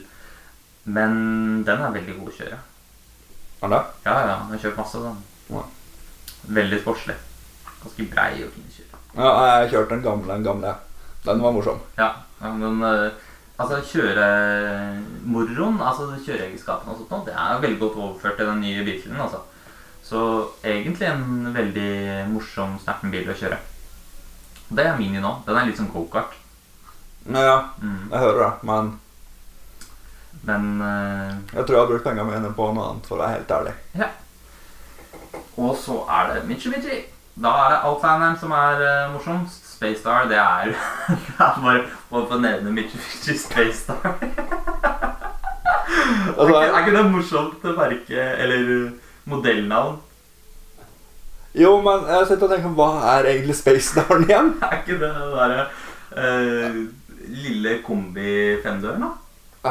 S1: Men den er veldig god å kjøre.
S2: Er det?
S1: Ja, ja, den har kjørt masse, den.
S2: Ja.
S1: Veldig sportslig. Ganske brei å kunne kjøre.
S2: Ja, jeg kjørte den gamle, den gamle. Den var morsom.
S1: Ja, ja, men eh, altså kjøremoroen, altså kjøreegenskapene og sånt, nå, det er veldig godt overført til den nye bilen. altså. Så egentlig en veldig morsom, snerten bil å kjøre. Og Det er Mini nå. Den er litt som gokart.
S2: Ja, ja,
S1: Mm.
S2: jeg hører det, men
S1: Men eh,
S2: jeg tror jeg har brukt pengene mine på noe annet, for å være helt ærlig.
S1: ja. Og så er det Mitsubishi. Da er det Alphanheim som er eh, morsomst. Space Star, det er, det er bare bare for å nevne Mitsubishi Space Star. Er
S2: Altså,
S1: ikke, er ikke det morsomt å merke Eller eh, modellnavn?
S2: jo, men jeg sitter og tenker, hva er egentlig Space Down igjen?
S1: Er ikke det det derre eh, lille kombi-femdøren, da?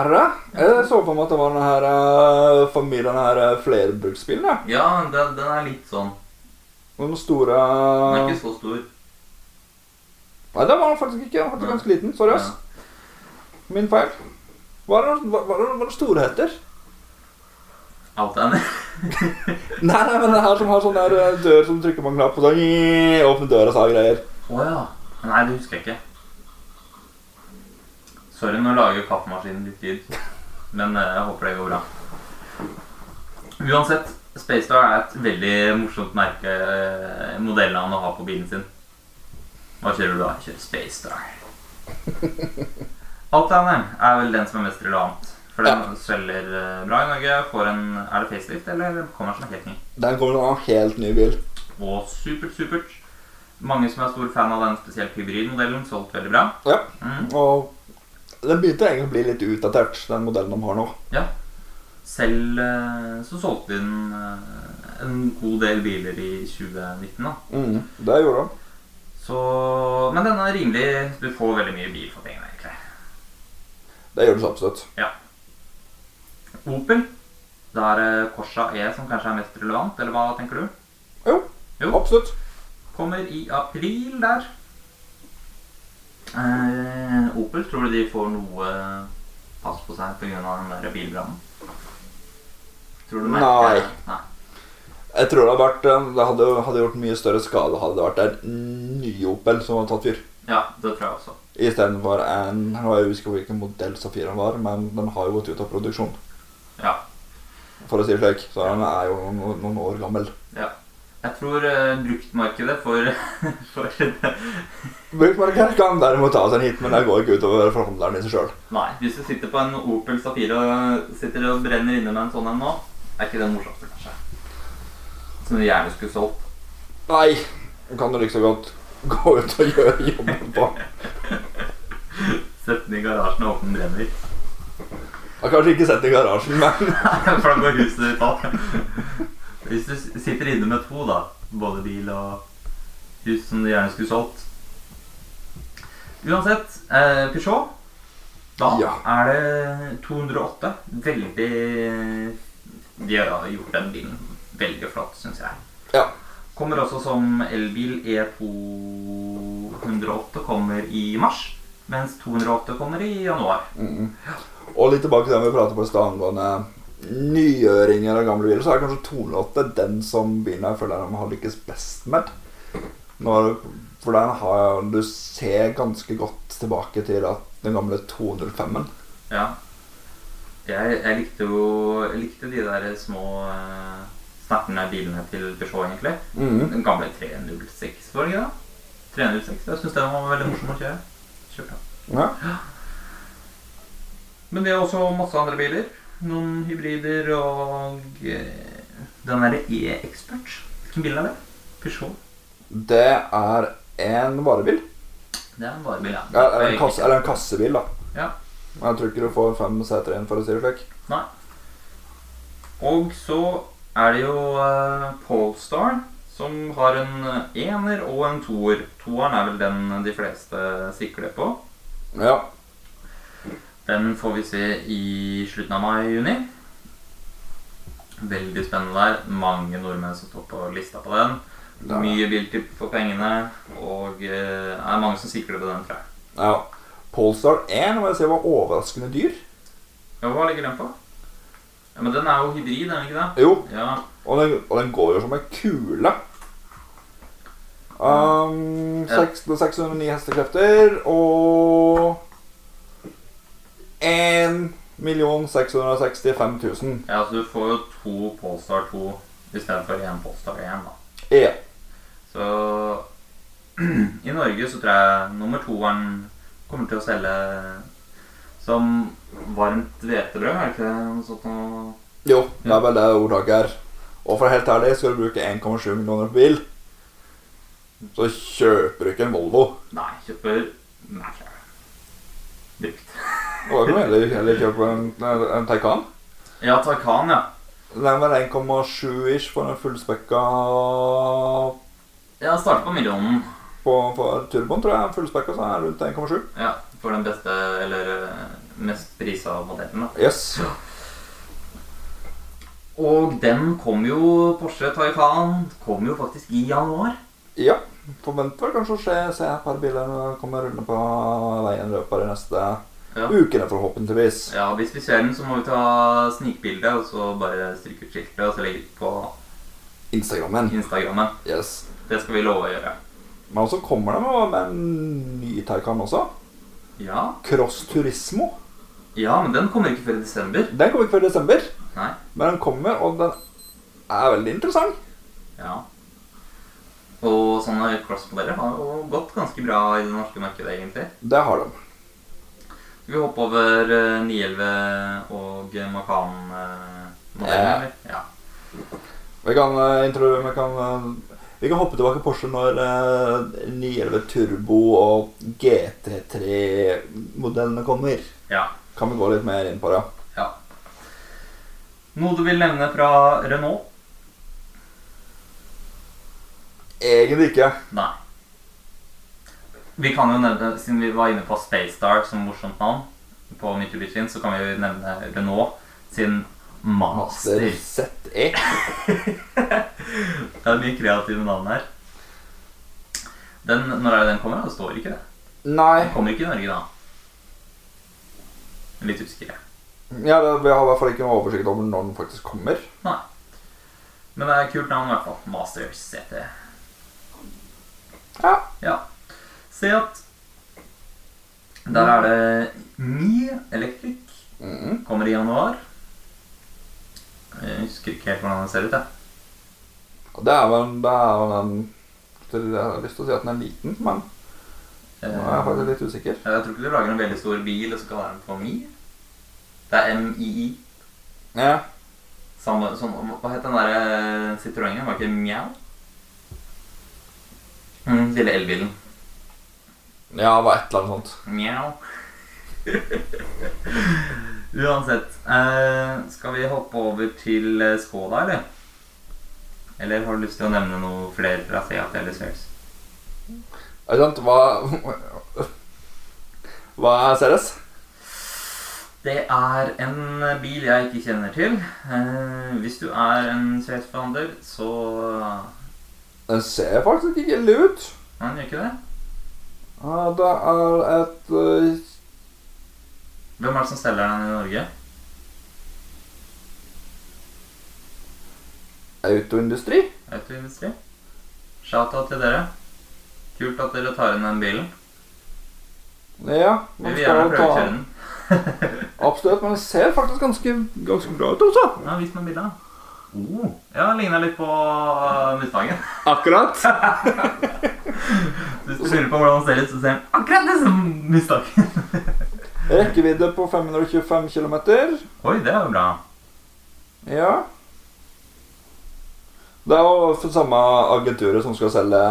S2: Er det? det? Jeg så for meg at det var denne her, eh, familien her eh, flerbruksbilen, ja.
S1: Ja, den, den er litt sånn.
S2: Den store...
S1: Den er ikke så stor.
S2: Nei, det var den faktisk ikke. Den var faktisk ganske liten. Sorry, ass. Min feil. Hva er det, hva, hva er det- hva er det store heter?
S1: Alt er med.
S2: Nei, nei, men det her som har sånn der eh, dør som trykker på en knapp og sånn «Nyi», Åpne døra sa greier.
S1: Å ja. Nei, det husker jeg ikke. Sorry, nå lager kaffemaskinen litt lyd. Men eh, jeg håper det går bra. Uansett, Space Star er et veldig morsomt merke eh, modellnavn å ha på bilen sin. Hva kjører du da? Jeg kjører Space Star. Altaneren er vel den som er mest relevant. For den selger eh, bra i Norge. Får en, er det facelift, eller kommer den som helt ny?
S2: Den kommer til å ha en helt ny bil.
S1: og supert, supert. Mange som er stor fan av den spesielt hybridmodellen, solgt veldig bra.
S2: Ja.
S1: Mm.
S2: Og den begynte egentlig å bli litt utdatert, den modellen de har nå.
S1: Ja. Selv eh, så solgte de den eh, en god del biler i 2019, da.
S2: Mm. Det gjorde de.
S1: Så Men den er rimelig. Du får veldig mye bil for pengene, egentlig.
S2: Det gjorde de så absolutt.
S1: Opel. Da er det Corsa E som kanskje er mest relevant, eller hva tenker du?
S2: Jo,
S1: Jo.
S2: absolutt.
S1: Kommer i april der. Eh, Opel, tror du de får noe pass på seg pga. den der bilbrannen? Tror du de merker det? Nei.
S2: Jeg tror det hadde, vært, eh, det hadde, hadde gjort mye større skade hadde det vært en ny Opel som hadde tatt fyr.
S1: Ja, det tror jeg også.
S2: Istedenfor en Nå jeg husker hvilken modell Safiren var, men den har jo gått ut av produksjon.
S1: Ja.
S2: for å si det slik. Så han er jo no- noen år gammel.
S1: ja. Jeg tror eh, bruktmarkedet for, for det.
S2: Bruktmarkedet kan derimot ta seg en hit, men det går ikke utover forhandleren i seg sjøl.
S1: Nei, hvis du sitter på en Opel Safira og sitter og brenner inne med en sånn en nå, er ikke den morsomste, kanskje. Som du gjerne skulle solgt.
S2: Nei, nå kan du like så godt gå ut og gjøre jobben på.
S1: Sett den i garasjen og åpne den brenner.
S2: Jeg har kanskje ikke sett det i garasjen, men
S1: For da går huset ditt opp. Hvis du s- sitter inne med to, da, både bil og hus som du gjerne skulle solgt Uansett, eh, Peugeot Da
S2: Ja.
S1: er det 208. Veldig De har gjort den bilen veldig flott, syns jeg.
S2: Ja.
S1: Kommer også som elbil. E E208 kommer i mars, mens 208 kommer i januar.
S2: mm. Og litt tilbake til det vi pratet på i stad angående nygjøringer av gamle biler, så er kanskje 208 den som bilen jeg føler de har lykkes best med. Når, for den har Du ser ganske godt tilbake til at den gamle 205-en.
S1: Ja. Jeg, jeg likte jo jeg likte de der små uh, snertne bilene til Peugeot, egentlig.
S2: Mm.
S1: Den gamle 306, var det ikke det? 306, Jeg syns den var veldig morsom å kjøre. Kjørte. den.
S2: Ja.
S1: Men de har også masse andre biler. Noen hybrider og eh, Den derre E-Expert. Hvilken bil er det? Peugeot.
S2: Det er en varebil.
S1: Det er en varebil, ja.
S2: Ja, Eller en, kasse, eller en kassebil, da.
S1: Ja.
S2: Men jeg tror ikke du får fem seter inn, for å si det slik.
S1: Nei. Og så er det jo eh, Polestar som har en eh, ener og en toer. Toeren er vel den de fleste sikler på.
S2: Ja.
S1: Den får vi se i slutten av mai-juni. Veldig spennende der. Mange nordmenn som står på lista på den.
S2: Det er det.
S1: Mye biltipp for pengene, og eh, det er mange som sikler på den, tror jeg.
S2: ja. Polestar 1 må jeg si, var overraskende dyr.
S1: Ja, hva ligger den på? Ja, Men den er jo hybrid, er den ikke det?
S2: Jo,
S1: Ja,
S2: og den, og den går jo som en kule. Um,
S1: Ja.
S2: 6 609 hestekrefter og 1 665 000.
S1: Ja, så du får jo to Polestar 2 istedenfor én Polestar 1, da.
S2: Ja.
S1: Så i Norge så tror jeg nummer toeren kommer til å selge som varmt hvetebrød, er det ikke det? Noe sånt noe?
S2: Jo, det er vel det ordtaket er. Og for å være helt ærlig, skal du bruke 1,7 millioner på bil, så kjøper du ikke en Volvo.
S1: Nei, kjøper Macra. Brukt.
S2: Og da kan du heller, heller kjøpe en, en, en Taycan.
S1: Ja, Taycan, ja.
S2: Den var 1,7-ish for en fullspekka
S1: Ja, starter på millionen.
S2: på, på turboen, tror jeg. Fullspekka så er det rundt 1,7.
S1: Ja, For den beste, eller eh, mest prisa modellen, da.
S2: Yes.
S1: Og den kom jo, Porsche Taycan, kom jo faktisk i januar.
S2: Ja. Forventer vel kanskje å se, se et par biler når de kommer rullende på veien i løpet av de neste
S1: Ja.
S2: ukene, forhåpentligvis.
S1: Ja, hvis vi ser den, så må vi ta snikbilde og så bare stryke ut skiltet og så legge ut på
S2: Instagrammen.
S1: Instagrammen.
S2: Yes.
S1: Det skal vi love å gjøre.
S2: Men så kommer de jo med en ny Taycan også.
S1: Ja,
S2: Cross Turismo.
S1: ja men den kommer ikke før i desember.
S2: Den kommer ikke før i desember,
S1: Nei.
S2: men den kommer, og den er veldig interessant.
S1: Ja. Og sånne crossmodeller har jo gått ganske bra i det norske markedet, egentlig.
S2: Det har de.
S1: Skal vi hoppe over eh, 911 og
S2: Ja.
S1: Macan-modellen, eller? Ja.
S2: Vi kan, eh, intro, vi kan, eh, vi kan hoppe tilbake i Porsche når eh, 911 Turbo og GT3-modellene kommer.
S1: ja.
S2: Kan vi gå litt mer inn på det?
S1: ja. Noe du vil nevne fra Renault?
S2: Egentlig ikke.
S1: Nei. Vi kan jo nevne, Siden vi var inne på Space Star som morsomt navn, på Mitubishien, så kan vi jo nevne Renault sin Master.
S2: Master ZE.
S1: Det er mye kreative navn her. Den, når er det den kommer? Det står ikke det.
S2: Nei.
S1: Den kommer ikke i Norge, da. Jeg er Litt usikker. jeg.
S2: Ja, det, vi har i hvert fall ikke noe oversikt over når den faktisk kommer.
S1: Nei. Men det er et kult navn, i hvert fall. Master CT.
S2: Ja.
S1: Ja. Seat. Der er det Mi Electric.
S2: Mhm.
S1: Kommer i januar. Jeg husker ikke helt hvordan den ser ut, jeg.
S2: Og Det er vel det er vel den Jeg har lyst til å si at den er liten, men nå er jeg faktisk litt usikker.
S1: Ja, Jeg tror ikke du lager en veldig stor bil og så kaller den for Mi. Det er MII.
S2: Ja.
S1: Samme som Hva het den derre Citroënen? Var ikke Mjau? Mm, lille elbilen.
S2: Ja, det var et eller annet sånt.
S1: Mjau. Uansett. eh, skal vi hoppe over til eh, Skoda, eller? Eller har du lyst til å nevne noe flere fra Seat eller Sears?
S2: Er det sant? Hva Hva er Ceres?
S1: Det er en eh, bil jeg ikke kjenner til. Eh, hvis du er en Sears-forhandler, så
S2: Den ser faktisk ikke ille ut.
S1: Han gjør ikke det.
S2: Ja, Det er et øh,
S1: Hvem er det som steller den i Norge?
S2: autoindustri.
S1: Autoindustri? Shout-out til dere. Kult at dere tar inn den bilen.
S2: Ja,
S1: Vi
S2: man
S1: vil gjerne
S2: skal ta
S1: prøvekjøre den.
S2: Absolutt, men den ser faktisk ganske, ganske bra ut, altså.
S1: Ja, Vis meg bildet. Oh, ja, ligna litt på uh, Mustangen.
S2: Akkurat.
S1: Hvis du lurer på hvordan han ser ut, så ser han akkurat det som Mustangen.
S2: Rekkevidde på 525 km.
S1: Oi, det er jo bra.
S2: Ja. Det er jo for samme agenturet som skal selge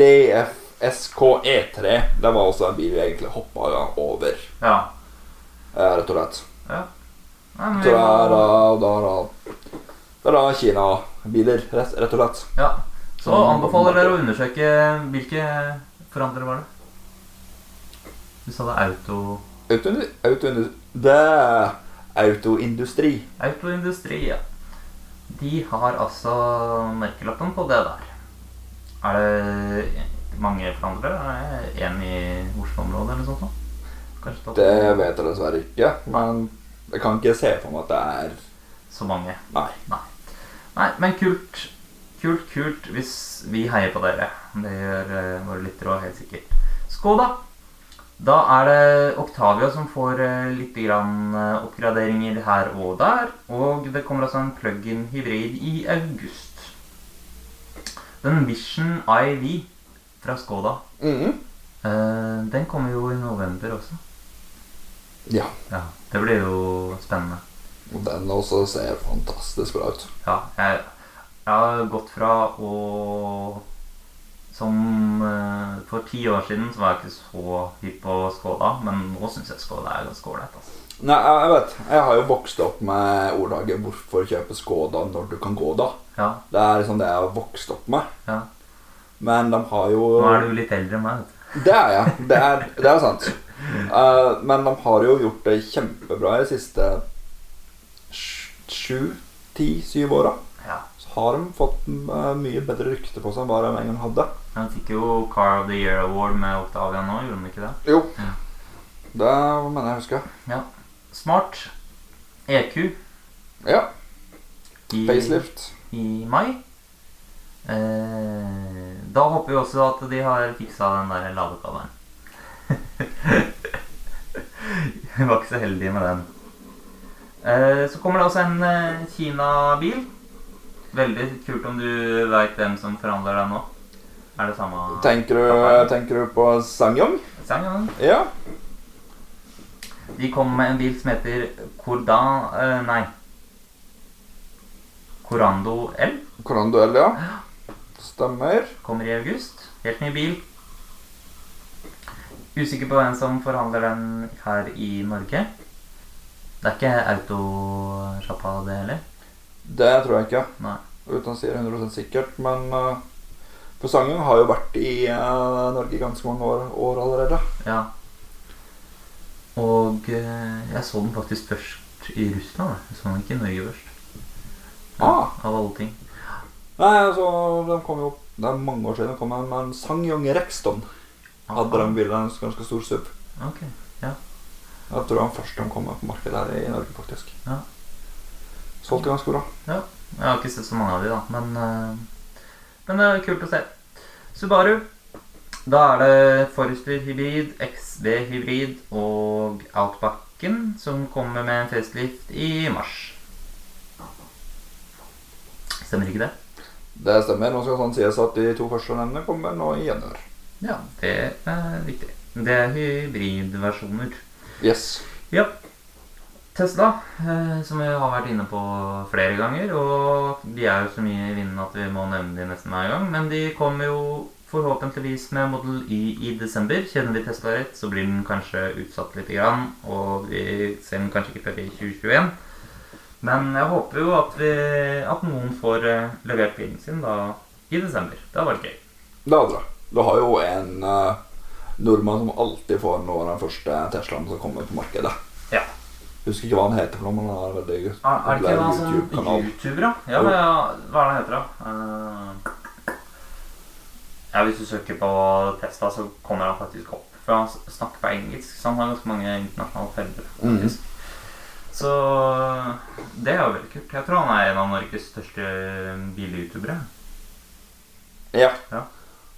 S2: DFSK E3. E Det var også en bil vi egentlig hoppa over, eh,
S1: Ja.
S2: rett og slett.
S1: Nei, men
S2: Så
S1: vi
S2: det er da,
S1: må-
S2: da, da, det er da Kina-biler, rett, rett og slett.
S1: ja. Så anbefaler dere å undersøke hvilke forhandlere var det? Du sa det auto...
S2: Autoindu- autoindu- Det er autoindustri.
S1: Autoindustri, ja. De har altså merkelappen på det der. Er det mange forhandlere? Er det én i Oslo-området eller noe sånt? da? Kanskje tatt
S2: Det vet jeg dessverre ikke, men jeg kan ikke se for meg at det er
S1: så mange.
S2: Nei.
S1: Nei, men kult. Kult, kult hvis vi heier på dere. Det gjør eh, våre lyttere òg, helt sikkert. Skål, da! Da er det Octavia som får eh, litt grann eh, oppgraderinger her og der. Og det kommer altså en plug-in hybrid i august. Den Vision IV fra Skoda, Mm.
S2: Mhm.
S1: eh, den kommer jo i november også.
S2: Ja.
S1: Ja, Det blir jo spennende.
S2: Og den også ser fantastisk bra ut.
S1: Ja, jeg, jeg har gått fra å Som eh, For ti år siden så var jeg ikke så hypp på Skoda, men nå syns jeg Skoda er ganske ålreit. Altså.
S2: Nei, jeg jeg vet. Jeg har jo vokst opp med ordlaget 'hvorfor kjøpe Skoda når du kan gå', da.
S1: Ja,
S2: Det er liksom det jeg har vokst opp med.
S1: ja.
S2: Men de har jo
S1: Nå er du litt eldre enn meg, vet du.
S2: Det er jeg. Det er, det er sant. Eh, men de har jo gjort det kjempebra i de siste sj- sju, ti, syv åra.
S1: Ja.
S2: Så har de fått eh, mye bedre rykte på seg enn hva de en gang hadde.
S1: Han fikk jo Car of the Year Award med Octavia nå, gjorde han ikke det?
S2: Jo. Det mener jeg å huske.
S1: Ja. Smart EQ
S2: Ja.
S1: i,
S2: Facelift.
S1: i mai. Eh, da håper vi også at de har fiksa den der ladekabelen. Jeg var ikke så heldig med den. Eh, så kommer det også en eh, Kina-bil. Veldig kult om du veit hvem som forhandler deg nå. Er det samme
S2: Tenker du, tenker du på Sangyong?
S1: Sang,
S2: Ja.
S1: ja? De kom med en bil som heter Kordan... Eh, nei. Korando L.
S2: Koranduell, ja. Stemmer.
S1: Kommer i august. Helt ny bil. Usikker på hvem som forhandler den her i Norge. Det er ikke autosjappa, det heller.
S2: Det tror jeg ikke.
S1: Nei.
S2: Uten å si det 100 sikkert, men eh, For Sangyong har jo vært i eh, Norge i ganske mange år, år allerede.
S1: Ja. Og eh, jeg så den faktisk først i Russland. Jeg Jeg så den ikke i Norge først.
S2: Ah.
S1: Av alle ting.
S2: Nei, altså, de kom jo Det er mange år siden de kom med en Sangyong Rexton. Hadde de bilen en ganske stor SUV.
S1: Ok.
S2: Jeg tror han først de kom med på markedet her i Norge, faktisk.
S1: Ja.
S2: Solgte ganske bra.
S1: Jeg har ikke sett så mange av de da, men, eh, men det er kult å se. Subaru. Da er det Forester hybrid, XB hybrid og Outbacken som kommer med en facelift i mars. Stemmer ikke det?
S2: Det stemmer. Nå skal sånn sies at de to første nevnene kommer nå i januar.
S1: Ja, det er riktig. Det er hybridversjoner.
S2: Yes.
S1: Ja. Tesla, eh, som vi har vært inne på flere ganger, og de er jo så mye i vinden at vi må nevne de nesten hver gang, men de kommer jo forhåpentligvis med Model Y i desember. Kjenner vi Tesla rett, så blir den kanskje utsatt litt, grann, og vi ser den kanskje ikke før i 2021. Men jeg håper jo at, vi, at noen får eh, levert bilen sin da i desember. Det hadde vært gøy.
S2: Det andre. Du har jo en eh, nordmann som alltid får nå den første Teslaen som kommer på markedet.
S1: Ja.
S2: Husker ikke hva han heter for noe, men han Ah, er veldig
S1: Er Ah, er det ikke
S2: populær
S1: en sånn
S2: YouTube-kanal.
S1: YouTuber, da? Ja,
S2: Jo.
S1: men, ja, hva er det han heter, da? Eh, ja, hvis du søker på Tesla, så kommer han faktisk opp. For han s- snakker på engelsk, så han har ganske mange internasjonale følgere. faktisk. Så eh, det er jo veldig kult. Jeg tror han er en av Norges største eh, bil-youtubere.
S2: Ja.
S1: Ja.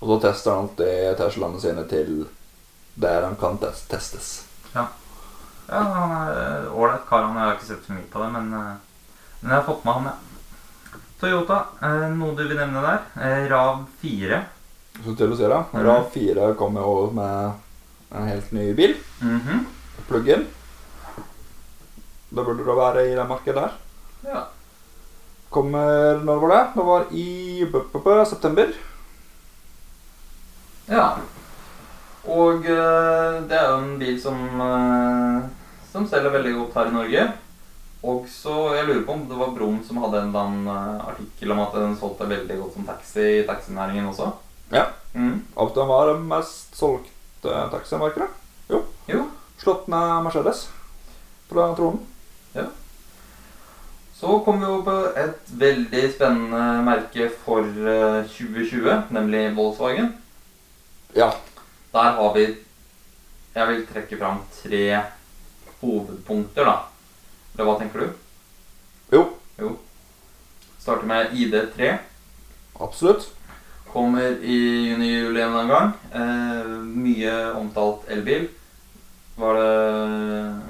S2: Og så tester han alltid Teslaene sine til der de kan tes- testes.
S1: Ja, han er eh, ålreit kar. Han har ikke sett så mye på det, men, eh, men jeg har fått med han, ja. Toyota, eh, noe du vil nevne der? Eh, Rav 4.
S2: Så til å si det.
S1: Mhm.
S2: RAV 4 kommer over med en helt ny bil.
S1: Mhm.
S2: Plug-in. Da burde det være i det markedet der.
S1: Ja.
S2: Kommer når var det? Det var i b -b -b september.
S1: Ja. Og eh, det er jo en bil som, eh, som selger veldig godt her i Norge. Og så, Jeg lurer på om det var Brum som hadde en eller annen eh, artikkel om at den solgte veldig godt som taxi i taxinæringen også.
S2: Ja.
S1: Mm.
S2: At den var den mest solgte taximarkedet.
S1: Jo.
S2: Slått ned Mercedes fra tronen.
S1: Så kom vi jo på et veldig spennende merke for eh, 2020, nemlig Volkswagen.
S2: Ja.
S1: Der har vi Jeg vil trekke fram tre hovedpunkter, da. Eller hva tenker du?
S2: Jo,
S1: Starter med ID3.
S2: absolutt.
S1: Kommer i juni-juli en eller annen gang. Eh, mye omtalt elbil. Var det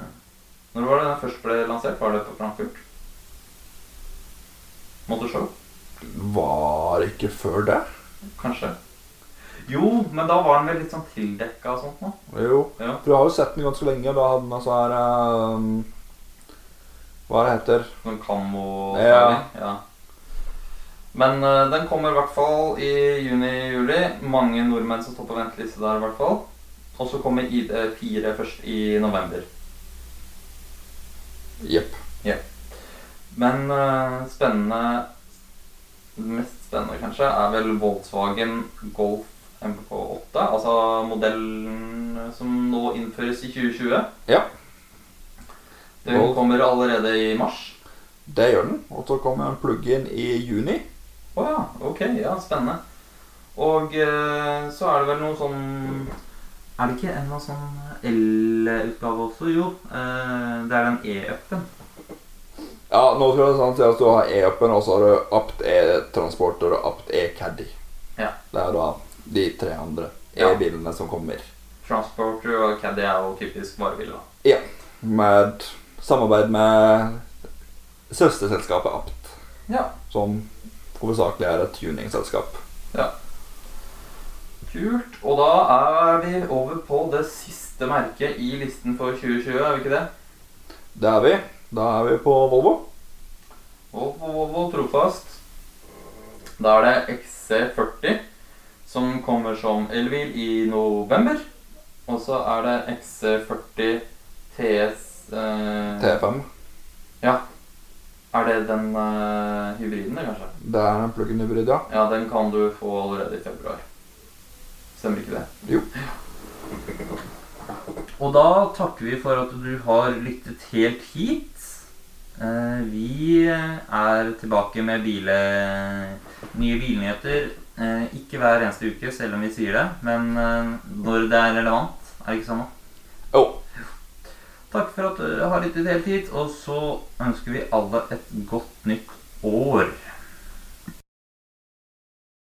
S1: Når var det den først ble lansert? Var det på Frankfurt? Motorshow?
S2: Var ikke før det.
S1: Kanskje. Jo, men da var den vel litt sånn tildekka og sånt nå.
S2: Jo.
S1: Ja.
S2: For du har jo sett den ganske lenge. Da hadde den altså her ehm, Hva det heter
S1: Sånn kammo
S2: Ja.
S1: ja. Men eh, den kommer i hvert fall i juni-juli. Mange nordmenn som står på venteliste der, i hvert fall. Og så kommer ID4 først i november.
S2: Jepp.
S1: Men eh, spennende Det mest spennende, kanskje, er vel Volkswagen Golf MK8. Altså modellen som nå innføres i 2020.
S2: Ja.
S1: Den
S2: Golf.
S1: kommer allerede i mars.
S2: Det gjør den. Og så kommer en plug-in i juni.
S1: Å ja, ok. Ja, spennende. Og eh, så er det vel noe sånn Er det ikke en eller annen sånn el-utgave også? Jo, eh, det er den e-upen.
S2: Ja, nå skal det sånn si at du har E-appen, og så har du Apt E-transporter og Apt E-caddy.
S1: Ja.
S2: Det er da de tre andre
S1: Ja.
S2: E-bilene som kommer.
S1: Transporter og Caddy er jo typisk varebil. da.
S2: Med samarbeid med søsterselskapet Apt,
S1: Ja.
S2: som hovedsakelig er et tuningsselskap.
S1: Kult. Og da er vi over på det siste merket i listen for 2020, er vi ikke det?
S2: Det er vi. Da er vi på Volvo.
S1: Volvo, Volvo trofast. Da er det XC40, som kommer som elbil i november. Og så er det XC40 TS eh,
S2: T5.
S1: Er det den eh, hybriden, det, kanskje?
S2: Det er en plug-in hybrid, ja.
S1: Ja, den kan du få allerede i februar. Stemmer ikke det?
S2: Jo.
S1: Og da takker vi for at du har lyttet helt hit. Eh, Vi er tilbake med bile, nye bilnyheter. eh, Ikke hver eneste uke, selv om vi sier det. Men eh, når det er relevant. Er det ikke sånn? da?
S2: Jo.
S1: Takk for at du har lyttet helt hit, og så ønsker vi alle et godt nytt år.